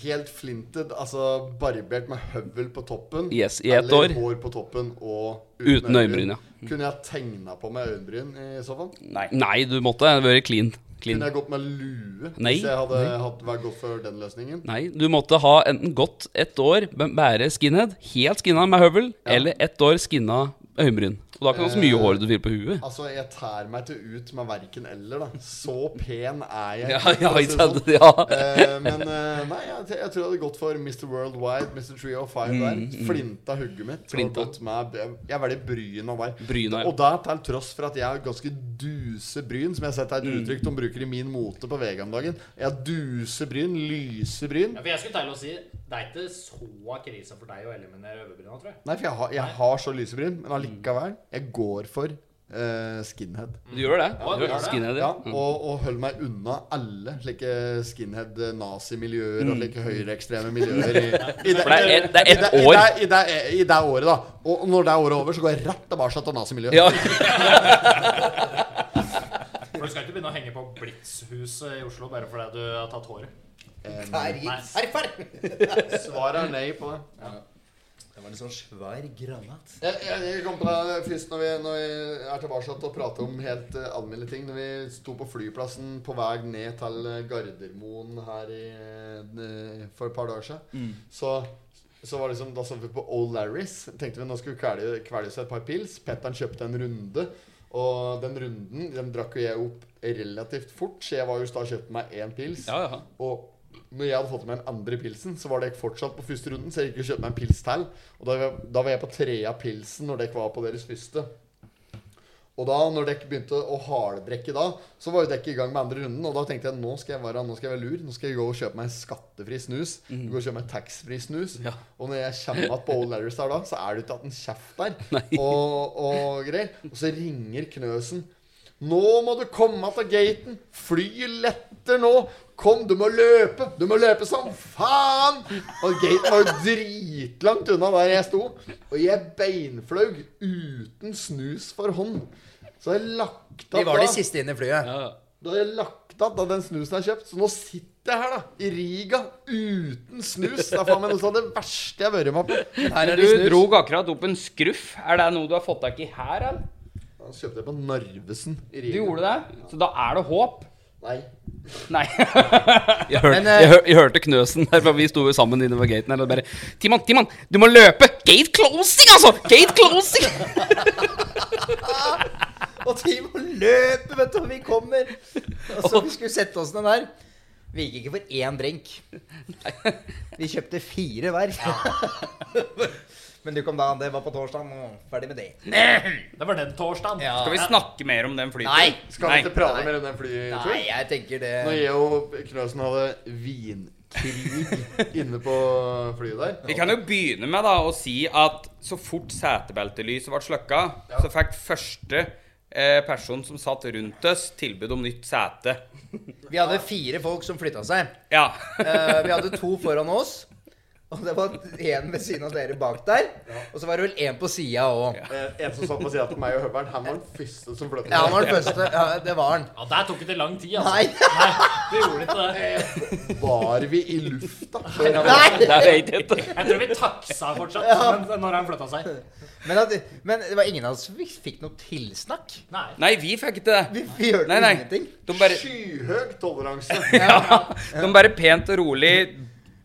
helt flinted. Altså barbert med høvel på toppen. Yes, i ett år. Eller hår på toppen og Uten øyenbryn, ja. Mm. Kunne jeg tegna på meg øyenbryn i så fall? Nei. Nei, du måtte vært clean. clean. Kunne jeg gått med lue Nei, hvis jeg hadde hatt, vært gått for den løsningen? Nei, du måtte ha enten gått ett år b- bære skinhead, helt skinna med høvel, eller ett år skinna øyenbryn. Og da kan du ha så mye hår du vil på huet. Altså, jeg tær meg til ut med verken eller, da. Så pen er jeg. Ja, for å ja, ikke si det sant? sånn. Ja. Eh, men eh, nei, jeg, jeg tror jeg hadde gått for Mr. Worldwide, Mr. 305 der. Flinta hugget mitt. og Mm, Flinta. gått Med, jeg velger bryna der. Bryna, ja. Og det til tross for at jeg har ganske duse bryn, som jeg har sett er et Mm. uttrykk de bruker i min mote på VG om dagen. Jeg har duse bryn, lyse bryn. Ja, for jeg skulle til å si, det er ikke så krise for deg å eliminere øvebryna, tror jeg. Mm. Nei, for jeg har, jeg har så lyse bryn, men allikevel. Jeg går for eh, skinhead. Du gjør det? Ja, Du det gjør er det. skinhead, ja. ja. Mm. Og, og hold meg unna alle slike skinhead-nazimiljøer og slike høyreekstreme miljøer. I, i Mm. For det er et- det er ett i år. det- I det, i, det, I det året, da. Og når det er året over, så går jeg rett tilbake til nazimiljøet. Ja. For du skal ikke begynne å henge på Blitzhuset i Oslo bare fordi du har tatt håret. Der gikk Herfar! Svaret er nei på det. Det var en sånn svær granat. Jeg, jeg, jeg kom på det først når vi, når vi er tilbake til å prate om helt uh, alminnelige ting. Når vi sto på flyplassen på vei ned til eh, Gardermoen her i, eh, for et par dager Mm. siden, så, så var det liksom, da så vi på O'Larris. Tenkte vi nå skulle kvelge, kvelge oss et par pils. Petteren kjøpte en runde. Og den runden den drakk jo jeg opp relativt fort, så jeg var jo i stad og kjøpte meg én pils. Ja, ja. Og når jeg hadde fått meg den andre pilsen, så var dere fortsatt på første runden. Så jeg gikk og kjøpte meg en pils til. Og da, var- da var jeg på trea pilsen når dere var på deres første. Og da, når dere begynte å harddrekke da, så var jo dere i gang med andre runden. Og da tenkte jeg nå skal jeg være, nå skal jeg være lur. Nå skal jeg gå og kjøpe meg en skattefri snus. Gå og kjøpe meg taxfree snus. Og når jeg kommer igjen på Old Larrys der da, så er det ikke at en kjeft der. Og, og greier. Og så ringer Knøsen. Nå må du komme til gaten. Flyet letter nå. Kom, du må løpe. Du må løpe som faen. Og gaten var jo dritlangt unna der jeg sto. Og jeg beinflaug uten snus for hånd. Så jeg lagt Vi av var de da. siste inn i flyet. Ja. Da har jeg lagt av da den snusen jeg har kjøpt. Så nå sitter jeg her, da. I Riga. Uten snus. Det er faen meg noe av det verste jeg har vært med på. Her er Du de snus. drog akkurat opp en skruff. Er det noe du har fått tak i her, eller? Da kjøpte jeg på Narvesen i Du Riga. gjorde det? Så da er det håp? Nei. Nei. Jeg, hørte, Men, eh, jeg, hør, jeg hørte knøsen der, for vi sto jo sammen inne ved gaten her. Og bare Timon, Timon, du må løpe! Gate closing, altså! Gate closing! Og Timon løper, vet du, og vi kommer. Og så vi skulle sette oss ned der. Vi gikk ikke for én drink. Vi kjøpte fire hver. Men du kom da, det var på torsdag. Ferdig med det. Det var den torsdagen. Skal vi snakke mer om den flyturen? Nei. Skal vi ikke prate mer om den flyturen? Nei, jeg tenker det Når jeg og Knøsen hadde vinkrig inne på flyet Vi der kan jo begynne med da å si at så fort setebeltelyset ble slukka, så fikk første eh, person som satt rundt oss, tilbud om nytt sete. Vi hadde fire folk som flytta seg. Ja. Eh, vi hadde to foran oss. Og det var én ved siden av dere bak der. Og så var det vel én på sida òg. Eh, En som satt på sida til meg og Høveren, han var den første som flyttet Ja, han var den første. Ja, det var han. Ja, Der tok ikke det lang tid, altså. Nei! Vi gjorde ikke det. Var vi i lufta? Nei! Der vet jeg ikke. Jeg tror vi taksa fortsatt men, når han flytta seg. Men, at, men det var ingen av oss som fikk- fikk noe tilsnakk. Nei. Nei, vi fikk ikke det. Vi, vi hørte Nei, nei. ingenting. De bare, Skyhøg toleranse. ja, de bare pent og rolig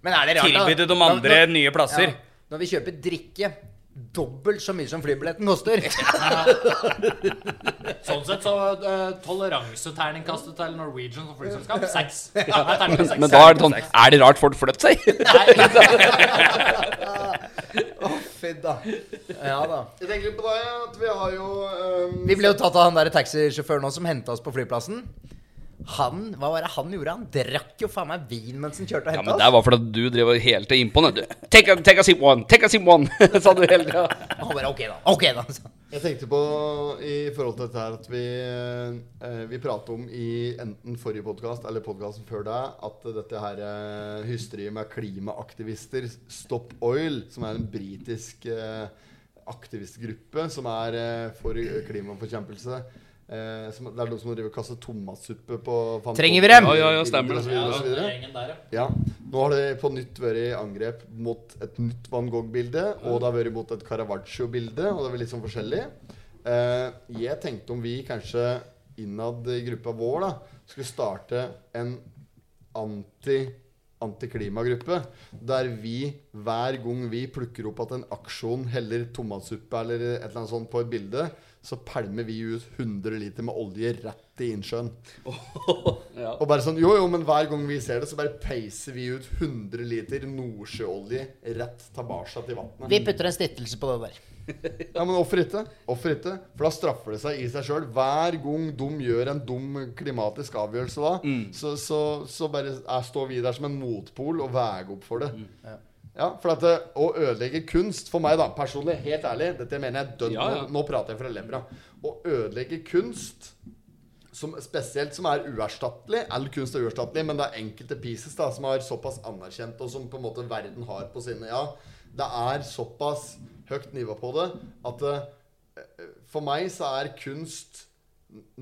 Men er det rart, da? tilbydde de Når- andre når- nye plasser. Ja, når vi kjøper drikke dobbelt så mye som flybilletten koster. Sånn sett så uh, toleranseterningkastet til Norwegian som flyselskap seks. Ja, jeg terninger seks. Men da er det sånn Er det rart folk flytter seg? Fy da. Ja da. Jeg tenker litt på deg, at vi har jo ehm, Vi ble jo tatt av han der taxisjåføren også som henta oss på flyplassen. Han, Hva var det han gjorde? Han drakk jo faen meg vin mens han kjørte og Ja, henta men oss. det var fordi du drev og hele tida innpå den. du. Take, a- take a sip one, take a sip one, sa du hele tida. Og han bare OK, da. OK, da. sa han. Jeg tenkte på i forhold til dette her at vi, eh, vi pratet om i enten forrige podkast eller podkasten før det, at dette her eh, hysteriet med klimaaktivister, Stop Oil, som er en britisk eh, aktivistgruppe som er eh, for klimaforkjempelse eh, som, Det er de som driver og kaster tomatsuppe på Trenger vi dem? Ja, ja, ja, stemmer det. Og så videre, og så videre. gjengen der, ja. Ja. Nå har det på nytt vært angrep mot et nytt Van Gogh-bilde, og det har vært mot et Caravaggio-bilde, og det er vel litt sånn forskjellig. Eh, jeg tenkte om vi kanskje innad i gruppa vår da, skulle starte en anti antiklimagruppe, der vi hver gang vi plukker opp at en aksjon heller tomatsuppe eller et eller annet sånt på et bilde, så pælmer vi ut 100 liter med olje rett i innsjøen. Og bare sånn, jo jo, men hver gang vi ser det, så bare peiser vi ut 100 liter nordsjøolje rett tilbake til vannet. Vi putter en stiftelse på det der. Ja, men hvorfor ikke? Hvorfor ikke? For da straffer det seg i seg sjøl. Hver gang de gjør en dum klimatisk Mm. Mm. avgjørelse da, så, så, så bare er, står vi der som en motpol og veier opp for det. Ja, for at eh, å ødelegge kunst For meg, da, personlig, helt ærlig Dette mener jeg dønn Ja, ja. Nå, nå prater jeg fra levra. Å ødelegge kunst som, spesielt som er uerstattelig. All kunst er uerstattelig, men det er enkelte pieces da, som er såpass anerkjent, og som på en måte verden har på sine Ja, det er såpass høyt nivå på det at eh, for meg så er kunst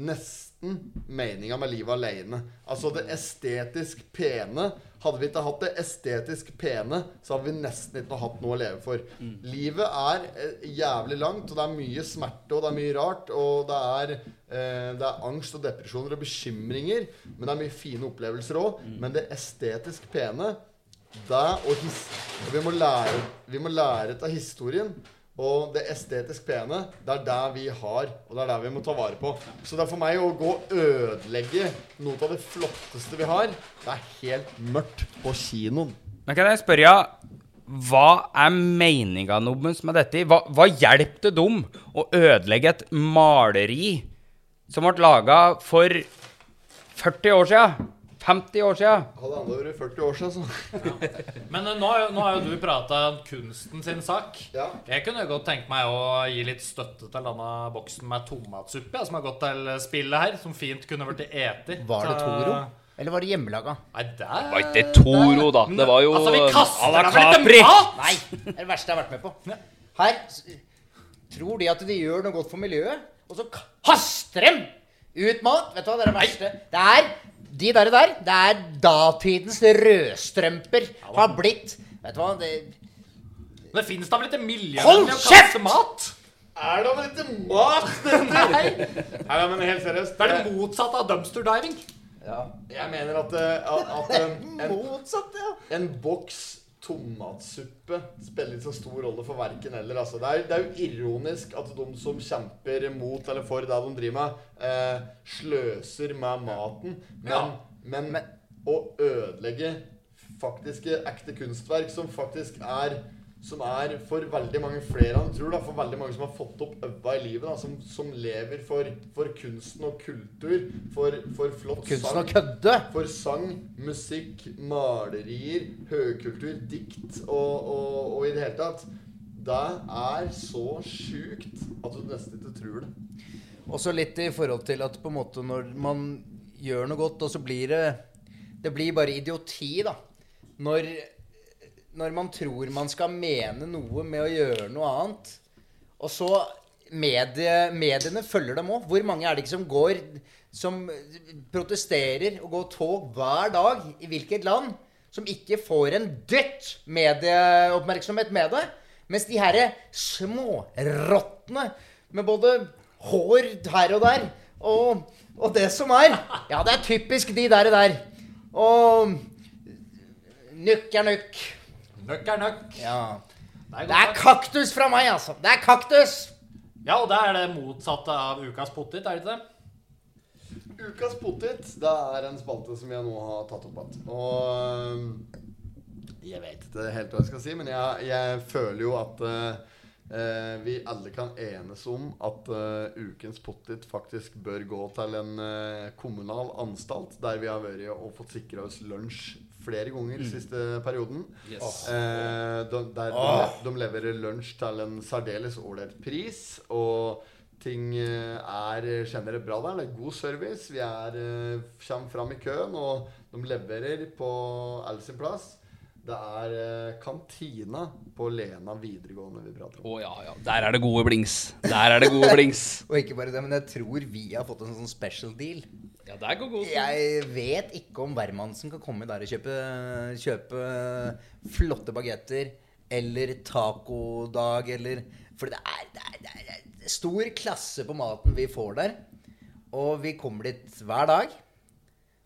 nesten meninga med livet aleine. Altså det estetisk pene. Hadde vi ikke hatt det estetisk pene, så hadde vi nesten ikke hatt noe å leve for. Livet er eh, jævlig langt, og det er mye smerte, og det er mye rart, og det er eh, det er angst og depresjoner og bekymringer, men det er mye fine opplevelser òg. Men det estetisk pene, det og his og vi, må lære, vi må lære av historien. Og det estetisk pene, det er det vi har, og det er det vi må ta vare på. Så det er for meg å gå og ødelegge noe av det flotteste vi har. Det er helt mørkt på kinoen. Men kan jeg spørre, ja, hva er meninga deres med dette? Hva, hva hjelp det dem å ødelegge et maleri som ble laga for 40 år sia? 50 år sia? Hadde han vært 40 år siden, så Men eh, nå, har jo- nå har jo du prata om kunsten sin sak. Ja. Jeg kunne jo godt tenke meg å gi litt støtte til denne boksen med tomatsuppe ja, som har gått til spillet her, som fint kunne blitt etet. Var det Så- Toro? Eller var det hjemmelaga? Nei, der Det var ikke Toro, da. Det var jo Altså, vi kaster à la dem vel Capri. ikke mat! Nei, det er det verste jeg har vært med på. Her s- tror de at de gjør noe godt for miljøet, og så kaster dem ut mat. Vet du hva, det er det verste. Det er de der, der det er datidens rødstrømper har blitt. Vet du hva, det Det fins da vel ikke miljø Hold til å kjeft! kaste mat? Er det vel ikke mat, dette? Nei, nei, men helt seriøst. Det er det motsatte av dumpster diving. Jeg mener at, eh, at, at eh, en, Motsatt, ja. en boks tomatsuppe spiller ikke så stor rolle for verken eller. Altså. Det, er, det er jo ironisk at de som kjemper mot eller for det de driver med, eh, sløser med maten. Men, Ja. men, å ødelegge faktiske ekte kunstverk som faktisk er som er for veldig mange flere enn du tror. da, For veldig mange som har fått opp øva i livet. da, Som, som lever for, for kunsten og kultur. For, for flott Kunsten å kødde. for sang, musikk, malerier, høykultur, dikt og, og, og i det hele tatt. Det er så sjukt at du nesten ikke tror det. Og så litt i forhold til at på en måte når man gjør noe godt, og så blir det Det blir bare idioti, da. Når, når man tror man skal mene noe med å gjøre noe annet. Og så medie, Mediene følger dem òg. Hvor mange er det ikke som går Som protesterer og går tog hver dag i hvilket land? Som ikke får en dødt medieoppmerksomhet med det. Mens de herre smårottene med både hår her og der og, og det som er Ja, det er typisk de der og der. Og nukk er nukk. Nøkk er nøkk. Ja. Det er Det er godt sagt. kaktus fra meg, altså. Det er kaktus! Ja, og det er det motsatte av ukas potet, er det ikke det? Ukas potet, det er en spalte som jeg nå har tatt opp igjen. Og øhm, jeg vet ikke helt hva jeg skal si, men jeg, jeg føler jo at øh, øh, vi alle kan enes om at øh, ukens potet faktisk bør gå til en øh, kommunal anstalt, der vi har vært og fått sikra oss lunsj flere ganger siste perioden. Eh, de, der de, de leverer lunsj til en særdeles ålreit pris. Og ting eh, er generelt bra der. Det er god service. Vi er, eh, kommer fram i køen, og de leverer på all sin plass. Det er eh, kantina på Lena videregående vi prater om. Å ja, ja. Der er det gode blings. Der er det gode blings. Og ikke bare det, men jeg tror vi har fått en sånn special deal. Ja, der går god Jeg vet ikke om hvermannsen kan komme der og kjøpe, kjøpe flotte bagetter eller tacodag eller For det er, det, er, det, er, det er stor klasse på maten vi får der. Og vi kommer dit hver dag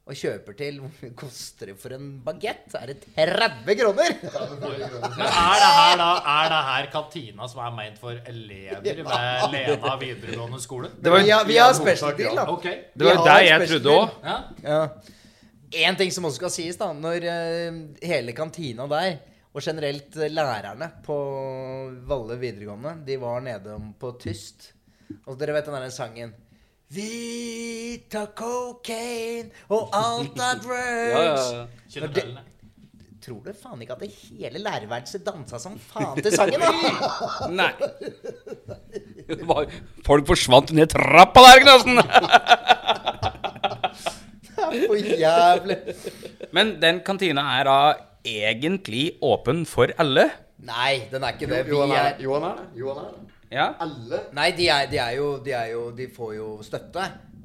og kjøper til Hvor mye koster det for en bagett? Er det 30 kroner? Men er det her da Er det her kantina som er ment for elever ved Lena videregående skole? vi, har, vi har special deal, da. Ok. Det Vi var jo har det jeg special trodde deal. òg. Ja. Ja. En ting som også skal sies, da. Når eh, hele kantina der, og generelt eh, lærerne på Valle videregående, de var nede om på tyst. Og dere vet den derre sangen Vi tar cocaine, og alt er Ja, ja, drugs. ja. Kjenner til den, jeg. Tror du faen ikke at det hele lærerværelset dansa som faen til sangen? da? Nei. Det var- Folk forsvant ned trappa der, Knassen! For jævlig. Men den kantina er da egentlig åpen for alle? Nei, den er ikke det. Vi Johan er er Johan er det? Johan er det? Ja. Alle? Nei, de er, de er, jo, de er jo De får jo støtte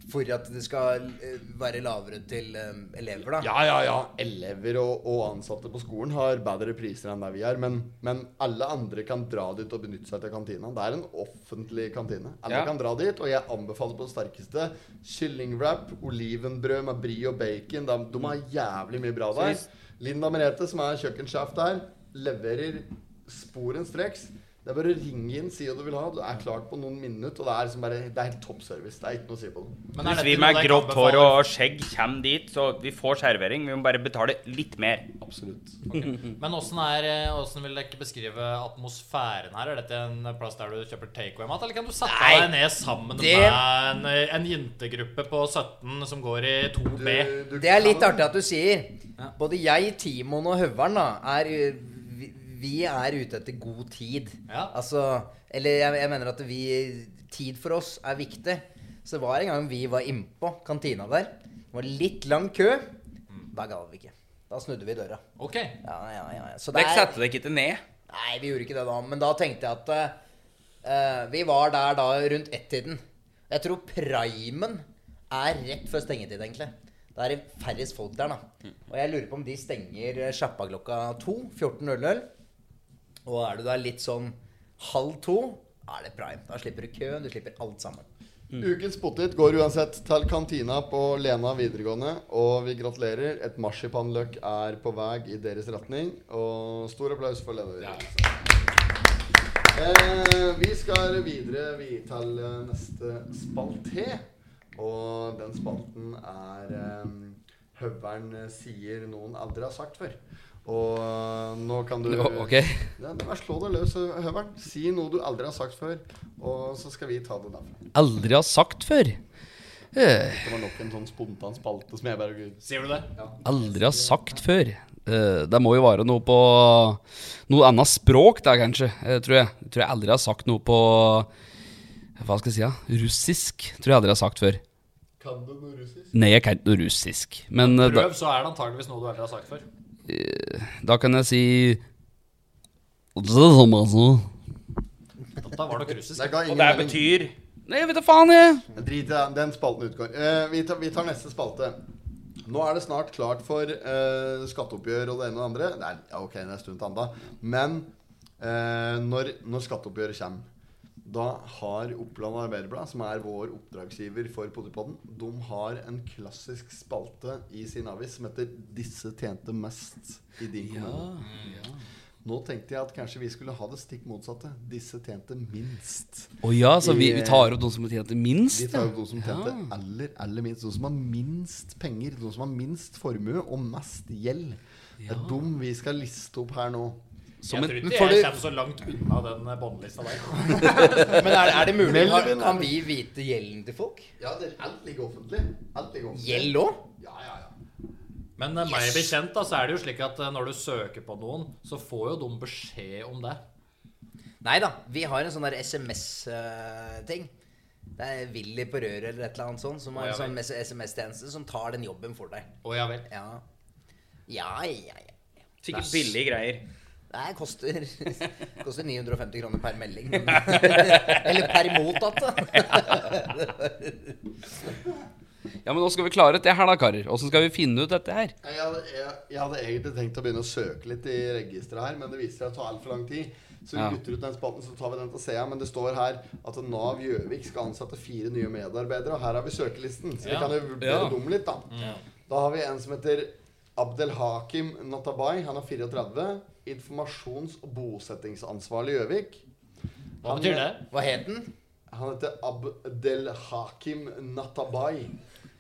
for at det skal eh, være lavere til eh, elever, da. Ja, ja, ja. Elever og, og ansatte på skolen har bedre priser enn der vi er. Men, men alle andre kan dra dit og benytte seg av kantina. Det er en offentlig kantine. Alle Ja. kan dra dit, og jeg anbefaler på det sterkeste kyllingwrap, olivenbrød med brie og bacon. De, de har jævlig mye bra der. Linda Merete, som er kjøkkensjef der, leverer sporenstreks. Det er bare å ringe inn, si hva du vil ha. Du er klart på noen minutter. Og det er, liksom bare, det er helt topp service. Det er ikke noe å si på det. Men er Hvis dette vi noe med dere grått hår anbefaler? og skjegg kommer dit, så vi får servering. Vi må bare betale litt mer. Absolutt. Men åssen er eh, Hvordan vil dere ikke beskrive atmosfæren her? Er dette en plass der du kjøper takeaway-mat, eller kan du sette Nei, deg ned sammen det- med en, en jentegruppe på 17 som går i 2B? Du Det er litt kan- artig at du sier. Både jeg, Timon og Høveren da, er, vi, vi er ute etter god tid. Ja. Altså, eller jeg, jeg mener at vi, tid for oss er viktig. Så det var en gang vi var innpå kantina der. Det var litt lang kø. Da ga vi ikke. Da snudde vi døra. Ok. Ja, ja, ja. ja. Så det Dere er- setter dere ikke ned. Nei, vi gjorde ikke det da, men da tenkte jeg at eh, eh, Vi var der da rundt ett-tiden. Jeg tror primen er rett før stengetid, egentlig. Da er det færrest folk der, da. Og jeg lurer på om de stenger eh, sjappa klokka to. 14.00. Og er du der litt sånn halv to, da er det prime. Da slipper du kø, du slipper alt sammen. Mm. Ukens potet går uansett til kantina på Lena videregående, og vi gratulerer. Et marsipanløk er på vei i deres retning, og stor applaus for Lena videregående. Eh, vi skal videre vi, til eh, neste spalte, og den spalten er eh, Høveren sier noen aldri har sagt før. Og eh, nå kan du Nå, ok. ja, bare slå deg løs, Høveren. Si noe du aldri har sagt før, og så skal vi ta det derfra. Aldri har sagt før. Eh, Det var nok en sånn spontan spalte som jeg bare gud. Sier du det? aldri har sagt før. Eh, det må jo være noe på Noe annet språk der, kanskje. eh, tror jeg. Jeg Tror jeg aldri har sagt noe på Hva skal jeg si, da? Russisk. Tror jeg aldri har sagt før. Kan du noe russisk? Nei, jeg kan ikke noe russisk. Men eh, da, Prøv, så er det antageligvis noe du aldri har sagt før. da kan jeg si Nei, Dette var nok russisk. Det ga Og ingen det mening. betyr jeg vet da faen, jeg. Drit i den, den spalten utgår. Eh, vi, tar, vi tar neste spalte. Nå er det snart klart for eh, skatteoppgjør og det ene og det andre. Nei, ja, ok, det er en stund til enda. Men eh, når, når skatteoppgjøret kommer, da har Oppland Arbeiderblad, som er vår oppdragsgiver for Potipodden, de har en klassisk spalte i sin avis som heter 'Disse tjente mest i din kommune'. Nå tenkte jeg at kanskje vi skulle ha det stikk motsatte. Disse tjente minst. Å ja, så vi, vi tar opp noen som har tjent det minst? Vi tar jo de som tjente aller, aller minst. De som har minst penger, de som har minst formue og mest gjeld. Det er dem vi skal liste opp her nå. Som jeg tror en, ikke fordi- jeg kommer så langt unna den eh, båndlista der. Men er, er det mulig? Har, Melvin er- kan vi vite gjelden til folk? Ja, det er alt ligger offentlig. Alt ligger offentlig. Gjeld òg? Ja, ja, ja. Men eh, meg bekjent da, så er det jo slik at eh, når du søker på noen, så får jo de beskjed om det. Nei da, vi har en sånn der SMS-ting. eh, Det er Willy på røret eller et eller annet sånt, som Å, har en ja sånn SMS-tjeneste som tar den jobben for deg. Å ja vel. Ja, ja, ja. ja. sikkert billige greier. Det koster, koster 950 kroner per melding. Men, eller per mottatt, da. ja, men nå skal vi klare dette her, da, karer. Åssen skal vi finne ut dette her? Jeg hadde, jeg, jeg hadde egentlig tenkt å begynne å søke litt i registeret her, men det viser seg å ta altfor lang tid. Så vi Ja. kutter ut den spalten, så tar vi den til Sea. Men det står her at Nav Gjøvik skal ansette fire nye medarbeidere, og her har vi søkelisten. Så vi Ja. kan jo vurdere Ja. dem litt, da. Da har vi en som heter Abdelhakim Natabai. Han er 34. Informasjons- og bosettingsansvarlig i Gjøvik. Hva betyr det? Hva het den? Han heter Abdelhakim Natabai.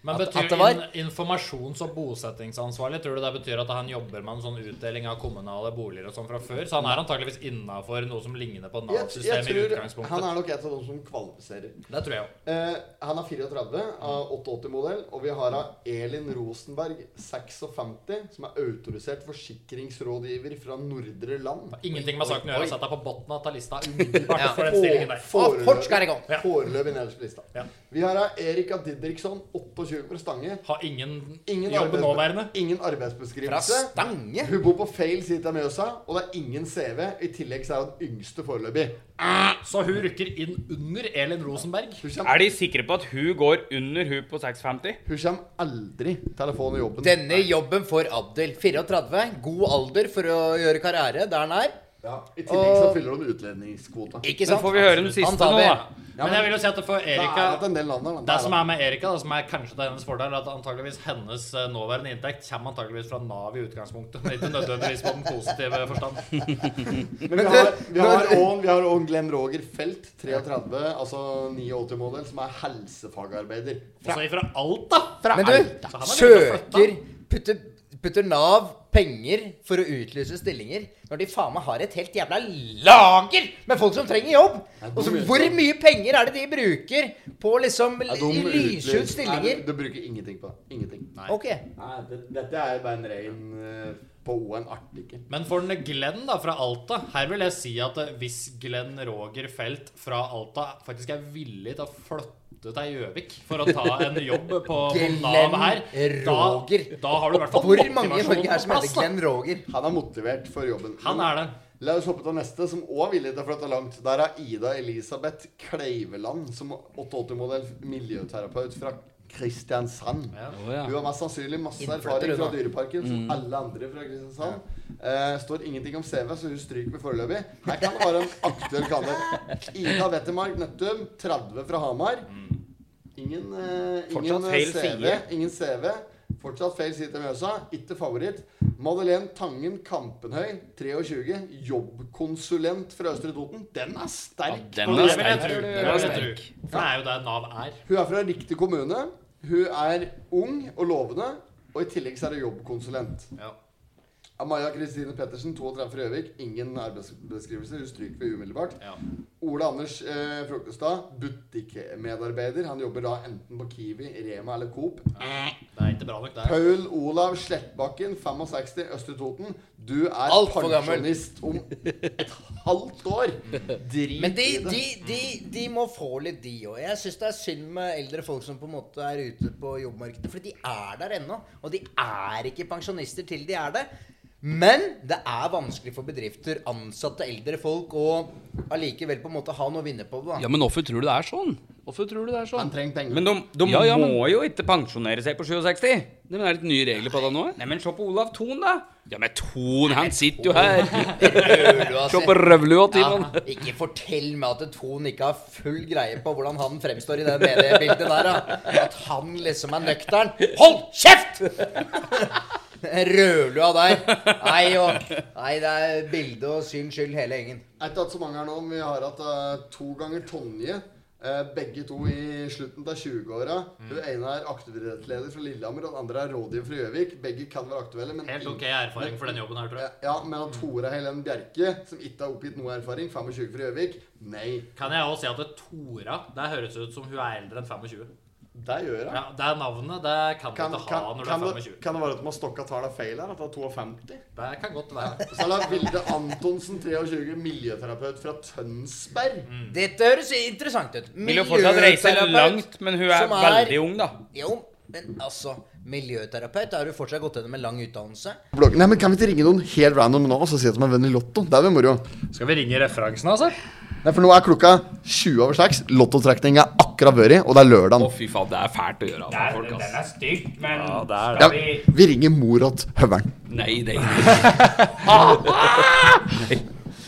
Men At- betyr at det var- in, informasjons- og bosettingsansvarlig Tror du det betyr at han jobber med en sånn utdeling av kommunale boliger og sånn fra før? Så han er antakeligvis innafor noe som ligner på Jeg, jeg Nav-systemet i tror utgangspunktet. Han er nok en av de som kvalifiserer. Det tror jeg òg. Eh, han er 34 av 88-modell, og vi har av Elin Rosenberg, 56, som er autorisert forsikringsrådgiver fra Nordre Land. Ingenting med saken å Oi, gjøre. oi. Sett deg på bunnen av lista umiddelbart Ja. for den stillingen der. Og fort skal det gå. Ja. foreløpig nederst på lista. Ja. Vi har av Erika Didriksson, 28 fra Stange. Har ingen, Ingen, jobb arbeidsbe- nåværende. ingen Fra arbeidsbeskrivelse. Stange. Hun bor på feil side av Mjøsa, og det er ingen CV. I tillegg så er hun den yngste foreløpig. Så hun rykker inn under Elin Rosenberg. Hun kommer, Er de sikre på at hun går under hun på 650? hun kommer aldri til å få noe jobben. Denne jobben for Abdel. 34. God alder for å gjøre karriere der han er. Ja, I tillegg så Og- fyller hun utlendingskvota. Ikke Så sant? får vi høre den Han siste tar nå, det. da. Men jeg vil jo si at for Det Erika er at en del land har- Det som er med Erika, da, som er kanskje til hennes fordel, er at antageligvis hennes eh, nåværende inntekt kommer antageligvis fra Nav i utgangspunktet, men ikke nødvendigvis på den positive forstand. Men vi har, vi har, også- vi har også Glenn Roger Felt, 33, altså 89-modell, som er helsefagarbeider. Også ifra Alta! Men du, søker putter, putter Nav penger for å utlyse stillinger når de faen meg har et helt jævla lager med folk som trenger jobb? Og så hvor mye penger er det de bruker på å liksom Er de l- lyse ut utlyst? stillinger? Nei, Du bruker ingenting på det. Ingenting. Ok. Nei, det, dette er jo bare en rein eh, på ON-artikkel. Men for den Glenn da, fra Alta Her vil jeg si at eh, hvis Glenn Roger Felt fra Alta faktisk er villig til å flytte til Gjøvik for å ta en jobb på på Nav her, Glenn da, Roger. da har du i hvert fall Hvor mange i Norge motivasjonen er det på som heter plass, da. Glenn Roger? Han er motivert for jobben. Han er det. La oss hoppe til neste, som òg er villig til å flytte langt. Der er Ida Elisabeth Kleiveland, som 88-modell miljøterapeut fra Kristiansand. Å, ja. Hun har mest sannsynlig masse Innflytter, erfaring fra hun da. Dyreparken, som alle andre fra Kristiansand. Eh, står ingenting om CV, så hun stryker med foreløpig. Her kan det være en aktuell kandidat. Ida Wettermark Nøttum, 30 fra Hamar. Ingen, eh, ingen, Mm. Fortsatt eh, feil CV, side. ingen CV. Fortsatt feil side til Mjøsa. Ikke favoritt. Madeleine Tangen Kampenhøy, 23. Jobbkonsulent fra Østre Toten. Den er sterk. Den er Det vil jeg sterk. tro. Det Den er vil jeg tro. sterk. For det er jo der Nav er. Hun er fra riktig kommune. Hun er ung og lovende. Og i tillegg så er hun jobbkonsulent. Ja. Amaya Kristine Pettersen, 32 fra Gjøvik. Ingen arbeidsbeskrivelse. Hun stryker vi umiddelbart. Ja. Ole Anders eh, Frokkestad, butikkmedarbeider. Han jobber da enten på Kiwi, Rema eller Coop. Det er ikke bra nok, det. er- Paul Olav Slettbakken, 65, Østre Toten. Du er Alt for gammel. pensjonist om et halvt år. Drit Men de, i det. de, de, de må få litt, de òg. Jeg syns det er synd med eldre folk som på en måte er ute på jobbmarkedet, for de er der ennå. Og de er ikke pensjonister til de er det. Men det er vanskelig for bedrifter, ansatte, eldre folk å allikevel på en måte ha noe å vinne på det. Ja, da. men hvorfor tror du det er sånn? Hvorfor tror du det er Han sånn? trenger penger. Men de, de Ja, ja, men- må jo ikke pensjonere seg på 67. Det men er det litt nye regler på det nå? Nei, men se på Olav Thon, da. Ja, men Ton, han sitter jo her. Rødlua Se si. på røvlua til Ja, han. ikke fortell meg at Ton ikke har full greie på hvordan han fremstår i det mediebildet der. Da. At han liksom er nøktern. Hold kjeft! Rødlua der. Nei, og, nei, det er bilde og syns skyld hele gjengen. Jeg har ikke hatt så mange her nå, men vi har hatt eh, to ganger Tonje. eh, begge to i slutten av 20-åra. Mm. Hun ene er aktivitetsleder fra Lillehammer, og den andre er rådgiver fra Gjøvik. Begge kan være aktuelle, men Helt ingen- ok erfaring for den jobben her, tror jeg. Ja, men at Tora Helen Bjerke, som ikke har oppgitt noe erfaring, 25 fra Gjøvik Nei, Kan jeg også si at det Tora Det høres ut som hun er eldre enn 25. det gjør hun. Ja, det er navnet. Det kan du Kan, ikke ha kan, når du kan, er det, 25. kan det være at de har stokka tallene feil her? At det er 52? Det kan godt være. Så er det Vilde Antonsen, 23, miljøterapeut fra Tønsberg. Dette høres interessant ut. Vil jo fortsatt reise Miljøterapeut, langt, men hun er som er- veldig ung, da. Jo, men altså Miljøterapeut har jo fortsatt gått gjennom en lang utdannelse. Nei, men Kan vi ikke ringe noen helt random nå og så si at de er venn i Lotto? Det er vel moro? Skal vi ringe referansen, altså? Nei, for nå er klokka 20 over 6. Lottotrekninga er akkurat vært, og det er lørdag. Å, fy faen, det er fælt å gjøre av folk, ass. er stygt, men Ja, det er det. Ja, vi ringer Morat Høveren. Nei, nei,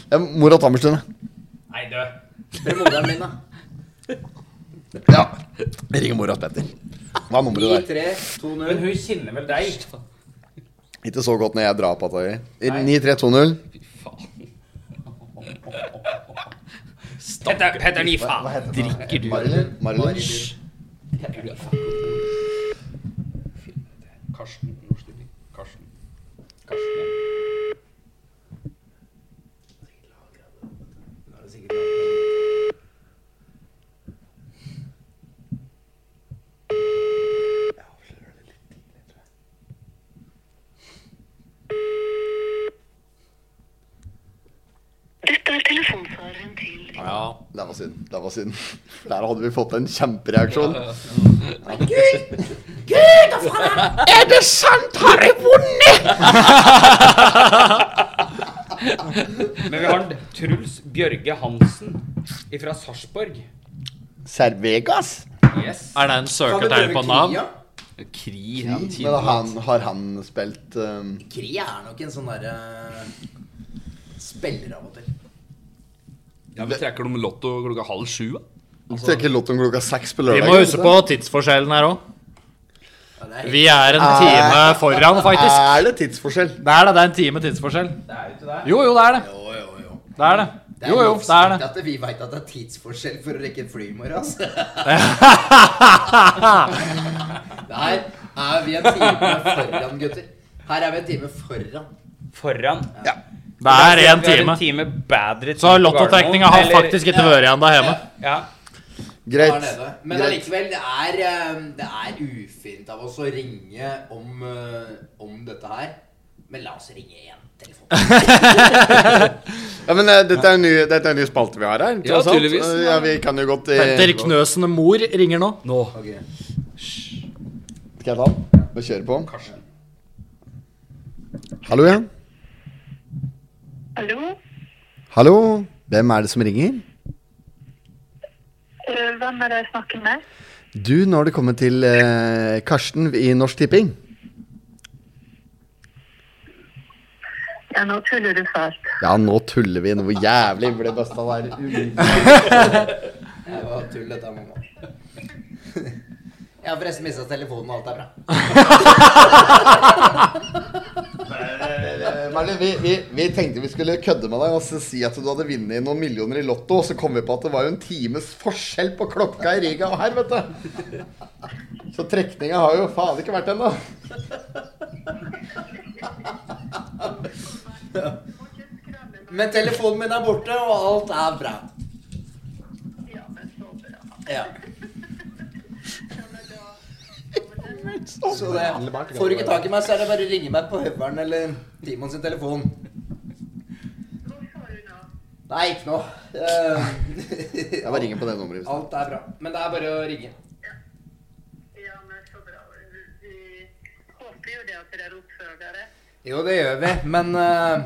Ja, Morat Hammerstuen. Nei, du. Ja. Vi ringer Morat Petter. Hva er nummeret der? 3-2-0. Men hun kjenner vel deg? Ikke så godt når jeg drar på at det er 9320. Petter, Petter Nifa. Drikker du? Marilyn. Marilyn. Karsten Norsk Tipping. Karsten. Karsten. Dette er telefonsvareren til Ja. Det var synd. Det var synd. Der hadde vi fått en kjempereaksjon. Er det sant? Har jeg vunnet? Men vi har Truls Bjørge Hansen fra Sarpsborg. Servegas? Yes. Er det en søkertegn på navn? Kria? Kri. ja, Men tidligere. han, har han spilt um, Kria er nok en sånn derre Spiller av og til. Ja, men trekker de Lotto klokka halv sju? da? Det er ikke lott om klokka seks på Altså- Vi lørdag? må huske på tidsforskjellen her òg. Ja, det er helt- Vi er en time foran, faktisk. Er det tidsforskjell? Det er det. Det er en time tidsforskjell. Jo, jo, det er det. Jo, jo, jo. Det er det. Det er Jo, jo, nok det er det. sykt At vi veit at det er tidsforskjell for å rekke et fly i morgen, altså. Der er vi en time foran, gutter. Her er vi en time foran. Foran. Det er Vi én har time. en time bedre Så lottotrekninga har faktisk ikke vært igjen der hjemme. Ja. Her Greit. nede. Men Greit. allikevel, det er, eh, det er ufint av oss å ringe om, eh, om dette her. Men la oss ringe igjen. telefonen. Ja, men eh, dette er en ny, dette er en ny spalte vi har her. Ja, tross alt. tydeligvis. Eh, Ja, vi kan jo godt eh, Petter Knøsen mor ringer nå. Nå. Ok. Skal jeg ta den? Vi kjører på. Hallo igjen. Hallo? Hallo. Hvem er det som ringer? Eh, Hvem er det jeg snakker med? Du, nå har du kommet til eh, Karsten i Norsk Tipping. Ja, nå tuller du fælt. Ja, nå tuller vi noe jævlig. Ble bøsta der. Det var tull, dette, her, mamma. Jeg har forresten mista telefonen, og alt er bra. Eh, Merlin, vi, vi, vi tenkte vi skulle kødde med deg og så si at du hadde vunnet noen millioner i Lotto. Og så kom vi på at det var jo en times forskjell på klokka i Riga og her, vet du. Så trekninga har jo faen ikke vært ennå. Men telefonen min er borte, og alt er bra. Ja, men så bra. Ja. Ja, men da- Så det, får du ikke tak i meg, så er det bare å ringe meg på høveren eller Timon sin telefon. Hva sa du nå? Nei, ikke noe. Eh, Jeg bare ringer på det nummeret. hvis- alt er bra. Men det er bare å ringe. Ja, men så bra. Vi- Vi håper jo det at dere oppfører dere. Jo, det gjør vi, men eh,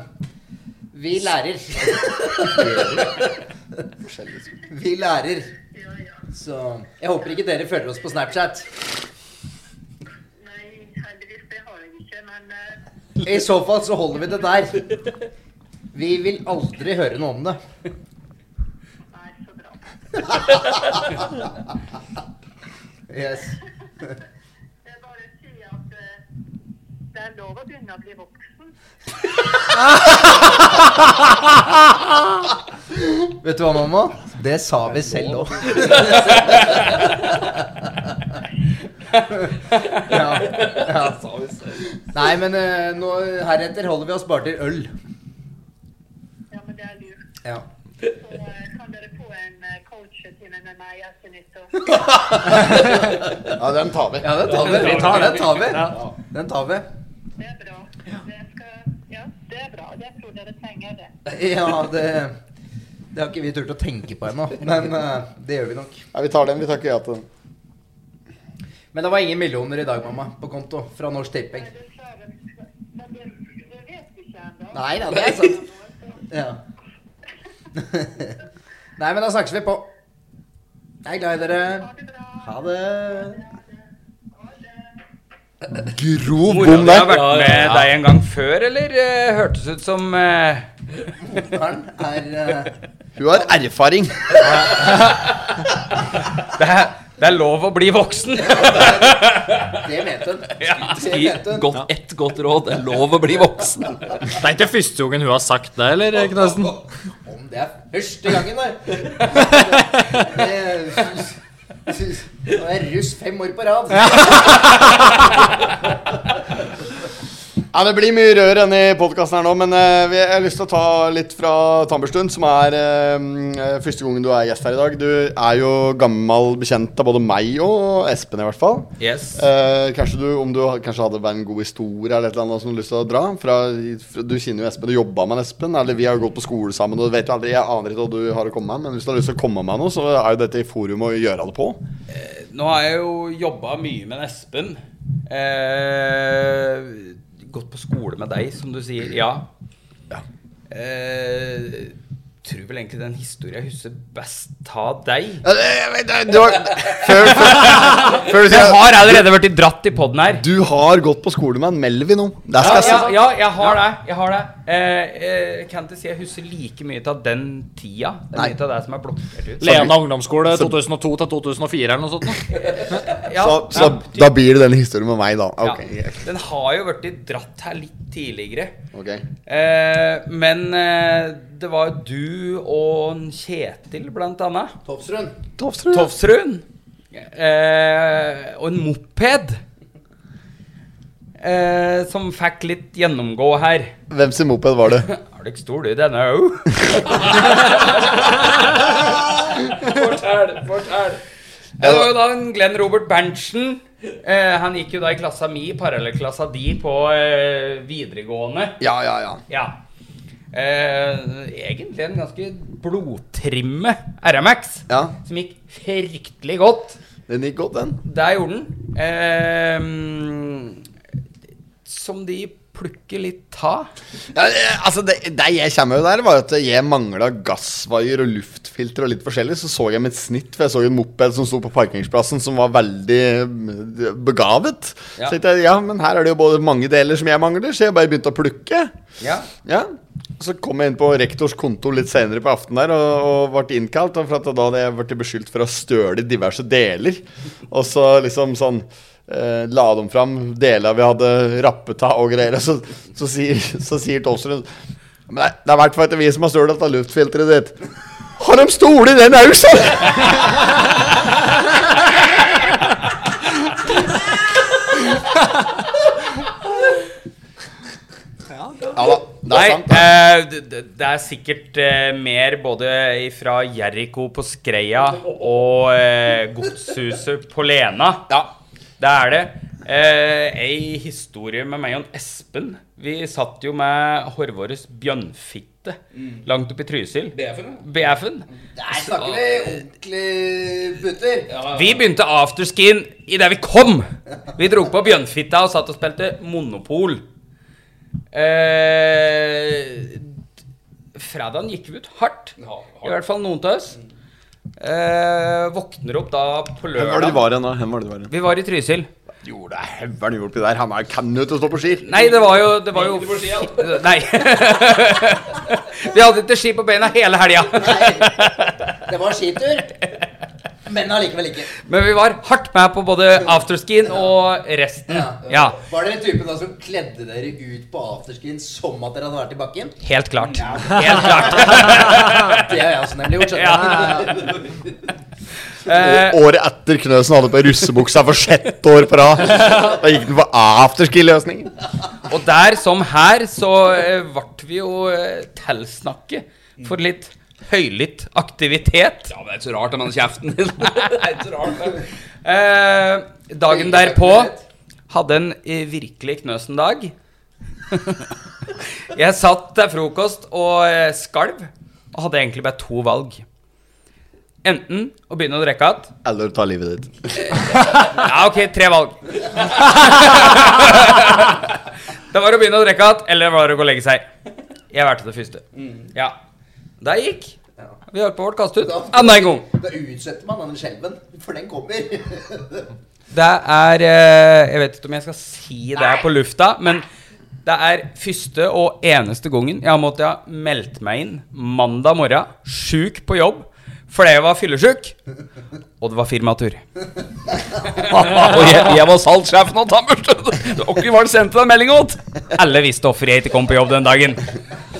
vi lærer. vi lærer. Ja, ja. Så jeg håper ikke dere følger oss på Snapchat. Nei, heldigvis det har jeg ikke, men eh, I så fall så holder vi det der. Vi vil aldri høre noe om det. nei, så bra. Yes. Jeg bare sier at eh, det er lov å begynne å bli voksen. Vet du hva, mamma? Det sa vi selv òg. ja, ja. Nei, men eh, nå, heretter holder vi oss bare til øl. Ja, men det er lurt. Ja. Så eh, kan dere få en eh, coachetime med meg etter nyttår. Ja, den tar vi. ja, den tar vi. Den tar, den tar vi. Den tar vi. Det er bra. Det skal, ja, det er bra. Jeg tror dere trenger det. Ja, det, det har ikke vi turt å tenke på ennå, men eh, det gjør vi nok. Ja, vi tar den. Vi takker ja til den. Men det var ingen millioner i dag, mamma, på konto fra Norsk Tipping. Men du klarer Men det, det vet vi ikke ennå. Nei da, det er sant. Ja. Nei, men da snakkes vi på. Jeg er glad i dere. Ha det bra. Ha det. Ha det. Grov Mora bom di har der. vært med deg en gang før, eller eh, hørtes ut som eh, Mortaren er eh, Hun har erfaring. det, er, det er lov å bli voksen! Det mente hun. Det Gi mente hun. godt, ett godt råd. Det er lov å bli voksen. Det er ikke første gangen hun har sagt det, eller, Knøsen? Om det er første gangen, da. Det- Nå er jeg russ fem år på rad. Nei, Det blir mye rør enn i podkasten her nå, men eh, vi- jeg har lyst til å ta litt fra Tamberstuen, som er eh, mm, første gangen du er gjest her i dag. Du er jo gammel bekjent av både meg og Espen, i hvert fall. Yes. Eh, kanskje du, om du ha- kanskje hadde vært en god historie eller et eller annet som du har lyst til å dra? Fra, fra, du kjenner jo Espen, du jobba med Espen, eller vi har jo gått på skole sammen. Og du vet jo aldri, Jeg aner ikke hva du har å komme med, men hvis du har lyst til å komme med noe, så er jo dette i forum å gjøre det på. Nå har jeg jo jobba mye med Espen. Eh, gått på skole med deg, som du sier. Ja. Eh, tror vel egentlig den historien jeg husker best av deg. du har- før- før- før du sier- jeg har allerede vært i dratt i poden her. Du har gått på skole med en Melvin nå. Der skal Ja, jeg si. ja, ja, jeg har det. Jeg har det. Eh, eh, kan ikke si jeg husker like mye av den tida. Det er mye av det som er blokkert ut. Lena ungdomsskole 2002 til 2004 eller noe sånt. Ja, så så ja, da blir det den historien med meg, da. Ok, Ja. Den har jo blitt dratt her litt tidligere. Ok. Eh, men eh, det var jo du og en Kjetil, blant annet. Tofsrud. Tofsrud. Eh, og en moped. Eh, som fikk litt gjennomgå her. Hvem sin moped var det? Er du ikke stor, du, denne òg? fortell, fortell. Det var jo da en Glenn Robert Berntsen. Eh, han gikk jo da i klassa mi, parallellklassa di, på eh, videregående. Ja, ja, ja. Eh, egentlig en ganske blodtrimme RMX, som gikk fryktelig godt. Den gikk godt, den. Der gjorde den. Eh, som de plukker litt ta. Ja, eh, altså det, det jeg kommer jo der, var at jeg mangla gassvaier og luftfilter og litt forskjellig. Så så jeg mitt snitt, for jeg så jo en moped som sto på parkeringsplassen som var veldig mm, begavet. Ja. Så tenkte jeg ja, men her er det jo både mange deler som jeg mangler, så jeg bare begynte å plukke. Ja. Ja. Så kom jeg inn på rektors kontor litt senere på aften der og, og ble innkalt. og For at da hadde jeg blitt beskyldt for å støle i diverse deler. Og så liksom sånn eh, la de fram deler vi hadde rappet av og greier. Og så, så sier, så sier Tolstrøm Men det, det er i hvert fall ikke vi som har stølet av luftfilteret ditt. Har de stole i den òg, sa Ja da. Det Nei, er sant. det. eh, det- det, det er sikkert eh, mer både fra Jericho på Skreia og eh, Godshuset på Lena. Ja, det er det. Eh, ei historie med meg og en Espen. Vi satt jo med Horvåres bjønnfitte Mm. langt oppe i Trysil. BF-en, BF-en. Der snakker vi ordentlig putter. Vi begynte afterskien idet vi kom. Vi dro på Bjørnfitta og satt og spilte Monopol. Eh, fredagen gikk vi ut hardt. I hvert fall noen av oss. Eh, våkner opp da på Hvem var det lørdag. du var igjen da? Hvem var det du var igjen? Vi var i Trysil. Jo, det er heveren gjort oppi der. Han er, kan jo ikke stå på ski. Nei, det var jo, det var jo Nei. vi hadde ikke ski på beina hele helga. Det var skitur, men allikevel ikke. Men vi var hardt med på både afterskien og resten. Ja. Var dere typen da som kledde dere ut på afterskin som at dere hadde vært i bakken? Helt klart. Ja. Helt klart. det har jeg også nemlig gjort. skjønner du. Eh, Å- Året etter Knøsen hadde på russebuksa for sjette år på rad. Da gikk den for afterski-løsning. Og der som her så ble vi jo eh, tilsnakket for litt høylytt aktivitet. Ja, men det er ikke så rart om han kjeften din. Eh, dagen derpå hadde en eh, virkelig knøsen dag. Jeg satt til frokost og eh, skalv, og hadde egentlig bare to valg. Enten å begynne å drikke igjen Eller ta livet ditt. ja, ok, tre valg. det var å begynne å drikke igjen, eller var det å gå og legge seg. Jeg valgte det første. Ja. Der gikk. Vi holdt på å bli kastet ut. Enda en gang. Da utsetter man den skjelven, for den kommer. Det er eh, Jeg vet ikke om jeg skal si det her på lufta, men det er første og eneste gangen jeg har måttet ha meldt meg inn mandag morgen, sjuk på jobb, fordi jeg var fyllesyk, og det var firmatur. og jeg, jeg var salgssjefen og tammerstøt. Hvem var det sendte den meldinga til? Alle visste hvorfor jeg ikke kom på jobb den dagen.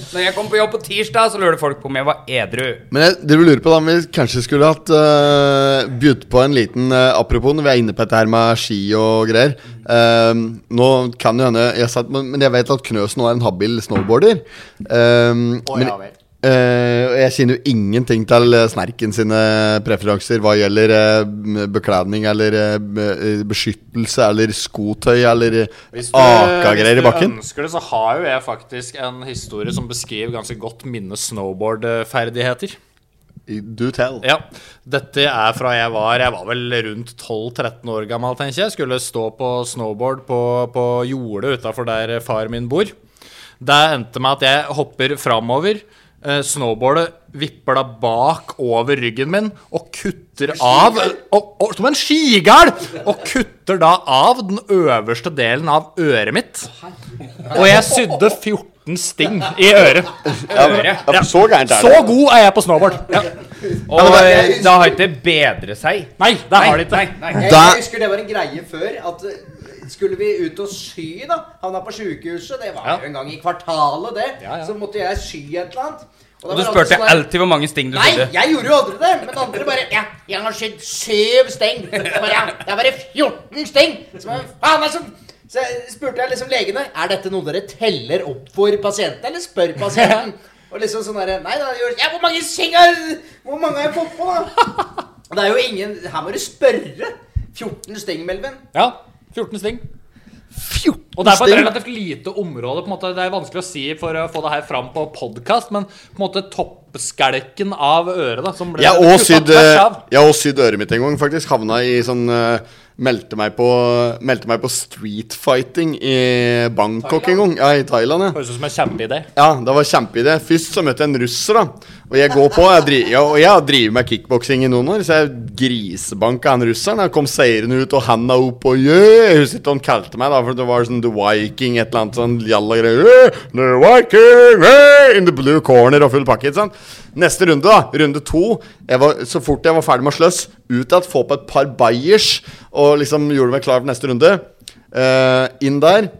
Når jeg kom på jobb på tirsdag, så lurte folk på om jeg var edru. Men jeg dere lurer på da om vi kanskje skulle hatt uh, bydd på en liten eh, Apropos når vi er inne på dette her med ski og greier. Ehm, nå kan jo hende jeg satt, men, men jeg vet at Knøsen nå er en habil snowboarder. Ehm, Å, men- ja vel. eh, og jeg kjenner jo ingenting til eh, Snerken sine preferanser hva gjelder eh, m- bekledning eller eh, b- eh, beskyttelse eller skotøy eller Hvis du, eh, akagreier i bakken. Hvis du ønsker det, så har jo jeg faktisk en historie som beskriver ganske godt mine snowboardferdigheter. Do tell. Ja. Dette er fra jeg var Jeg var vel rundt 12-13 år gammel, tenker jeg. Skulle stå på snowboard på, på jordet utafor der far min bor. Det endte med at jeg hopper framover. eh, Snowboardet vipper da bak over ryggen min og kutter av og, og, Som en skigalv! Og kutter da av den øverste delen av øret mitt. Og jeg sydde 14 sting i øret. Ja, men- ja, for så gærent er Så det. god er jeg på snowboard. Ja. Og eh, det har ikke bedret seg. Nei, det har det ikke. Jeg, jeg husker det var en greie før. At eh, skulle vi ut og sy, da Havna på sjukehuset. Det var Ja. jo en gang i kvartalet, det. Så måtte jeg sy et eller annet. Og da Og var du alle spurte sånn der- alltid hvor mange sting du Nei, trodde. jeg gjorde jo aldri det. Men andre bare Ja, jeg har sydd syv steng. Så Bare, ja, det er bare 14 steng. Så, bare, faen, altså. så jeg spurte jeg liksom legene Er dette noe dere teller opp for pasienten, eller spør pasienten. Og liksom sånn derre Nei da, gjør- ja, hvor mange seng har Hvor mange har jeg fått på, da? Og det er jo ingen Her må du spørre. 14 steng, Melvin. Ja, 14 sting. Og det er på et relativt lite område. på en måte Det er vanskelig å si for å få det her fram på podkast, men på en måte toppskalken av øret da som ble Jeg har kuttet også sydd, eh, tvers av. jeg har også sydd øret mitt en gang, faktisk. Havna i sånn eh, Meldte meg på Meldte meg på streetfighting i Bangkok en gang. Ja, i Thailand, ja. Høres ut som en kjempeidé. Ja, det var kjempeidé. Først så møtte jeg en russer, da. Og jeg går på, jeg driver, ja, og jeg har drevet med kickboksing i noen år, så jeg grisebanka han russeren. Han kom seirende ut og handa opp og yeah! Jeg husker ikke hva han kalte meg, da, for det var sånn The Viking, et eller annet sånn jalla greier. «Yeah, The Viking, yeah!» in the blue corner og full pakke, ikke sant. Neste runde, da. Runde to. Jeg var, så fort jeg var ferdig med å sløss, ut igjen, få på et par bayers, og liksom gjorde meg klar for neste runde. Eh, inn der.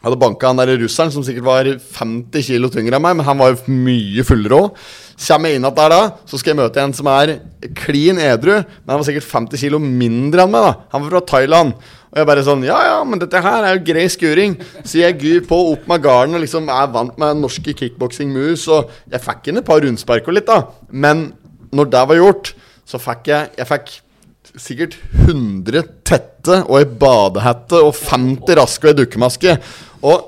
Jeg hadde banka han der russeren som sikkert var 50 kilo tyngre enn meg, men han var jo mye fullere òg. Kommer jeg inn igjen der da, så skal jeg møte en som er klin edru, men han var sikkert 50 kilo mindre enn meg, da. Han var fra Thailand. Og jeg bare sånn Ja, ja, men dette her er jo grei skuring. Så jeg gyr på opp med garden og liksom er vant med norske kickboksing-moves, og jeg fikk inn et par rundspark og litt, da. Men når det var gjort, så fikk jeg Jeg fikk sikkert 100 tette og ei badehette og 50 raske og ei dukkemaske. Og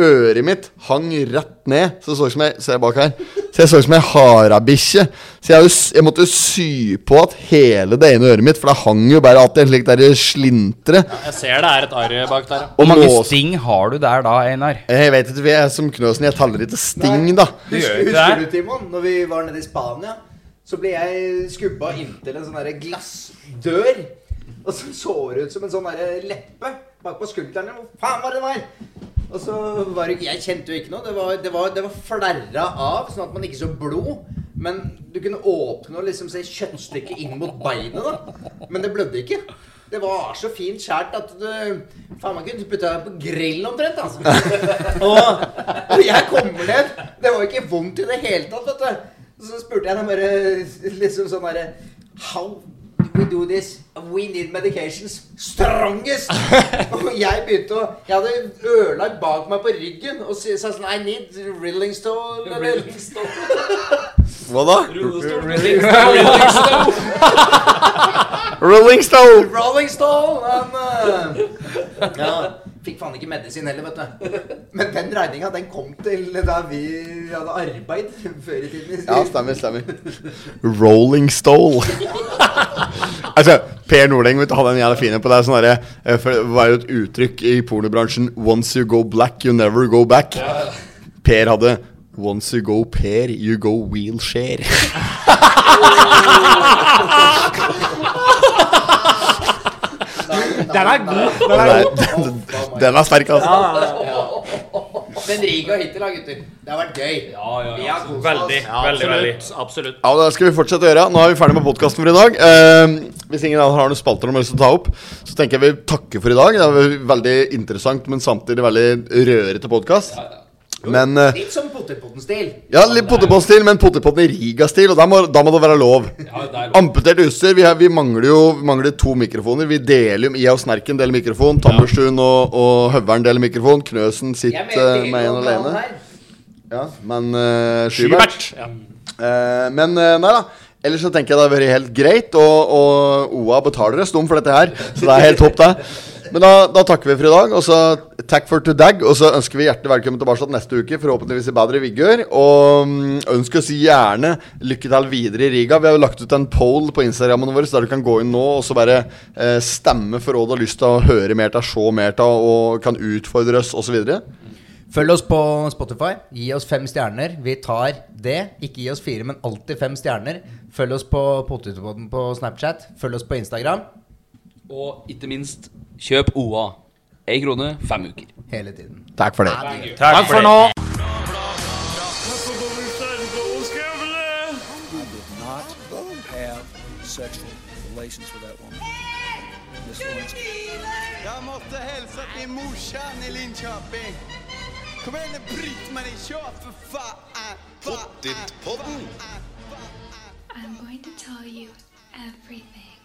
øret mitt hang rett ned, så det så ut som jeg ser bak her Så jeg så ut som ei harabikkje. Så jeg, har jo s- jeg måtte sy på at hele det ene øret mitt, for det hang jo bare at det slik der slintre. Jeg ser det er et arr bak der. ja. Og nå- sting har du der da, Einar? Jeg vet ikke, vi er som Knøsen, jeg teller ikke sting, da. Husker, husker du, Timon, når vi var nede i Spania, så ble jeg skubba inntil en sånn derre glassdør. Og så så det ut som en sånn derre leppe bakpå skulderen. Hvor faen var det der? Og så var det Jeg kjente jo ikke noe. Det var, det var, det var flerra av, sånn at man ikke så blod. Men du kunne åpne og liksom se kjøttstykket inn mot beinet, da. Men det blødde ikke. Det var så fint skjært at du Faen, man kunne putta det på grill omtrent, altså. Og og jeg kommer ned. Det var ikke vondt i det hele tatt, vet du. Så spurte jeg dem bare liksom sånn derre How we do this? We need medications. Strongest! Og jeg begynte å Jeg hadde ørlag bak meg på ryggen og sa sånn I need Rilling Stone. Eller, Hva da? Rolling Stone. Rolling Stone! Rolling Stone! Han eh, ja, fikk faen ikke medisin heller, vet du. Men den regninga, den kom til da vi hadde arbeid før i tiden. Ja, altså, stemmer, stemmer. Rolling Stole. altså, Per Nordeng vet du, hadde en jævla fin en på det. Sånn derre, eh, for det var jo et uttrykk i pornobransjen 'Once you go black, you never go back'. Per hadde 'Once you go Per, you go wheelchair'. Den er god. Den er, den, den er sterk, altså. Men Riga hittil, da, gutter. Det har vært gøy. Vi har kost oss. Absolutt. Ja, og Det skal vi fortsette å gjøre. Nå er vi ferdig med podkasten for i dag. Eh, hvis ingen annen har noen spalter de har lyst til å ta opp, så tenker jeg vi takker for i dag. Det var veldig interessant, men samtidig veldig rørete podkast. Men eh, Litt sånn som Pottipotten-stil. ja, litt Pottipotten-stil, men Pottipotten i Riga-stil, og da må, da må det være lov. Amputert utstyr. Vi, har, vi mangler jo vi mangler to mikrofoner. Vi deler jo Jeg og Snerken deler mikrofon. Tammerstuen og, og Høveren deler mikrofon. Knøsen sitter eh, med en alene. Ja, men eh, Skybert. Skybert, ja. Eh, men eh, nei da. Ellers så tenker jeg det har vært helt greit, og, og OA betaler oss dum for dette her. Så det er helt topp, det. Men da, da takker vi for i dag, og så takk for to dag. Og så ønsker vi hjertelig velkommen tilbake neste uke, forhåpentligvis i bedre vigør. Og mm, ønsk oss gjerne lykke til videre i Riga. Vi har jo lagt ut en poll på Instagrammen vår, så der du kan gå inn nå og så bare eh, stemme for hva du har lyst til å høre mer til, se mer til, og kan utfordre oss osv. Følg oss på Spotify. Gi oss fem stjerner. Vi tar det. Ikke gi oss fire, men alltid fem stjerner. Følg oss på Potetpodden på Snapchat. Følg oss på Instagram. Og ikke minst, kjøp OA. Én krone, fem uker. Hele tiden. Takk for det. Takk, Takk for for nå. nå. You did not have sexual relations with that woman. Miss Lewinsky. Jag måste hälsa till morsan i Linköping. Kom igen nu Britt-Marie, kör för fan! Pottit-podden! I'm going to tell you everything.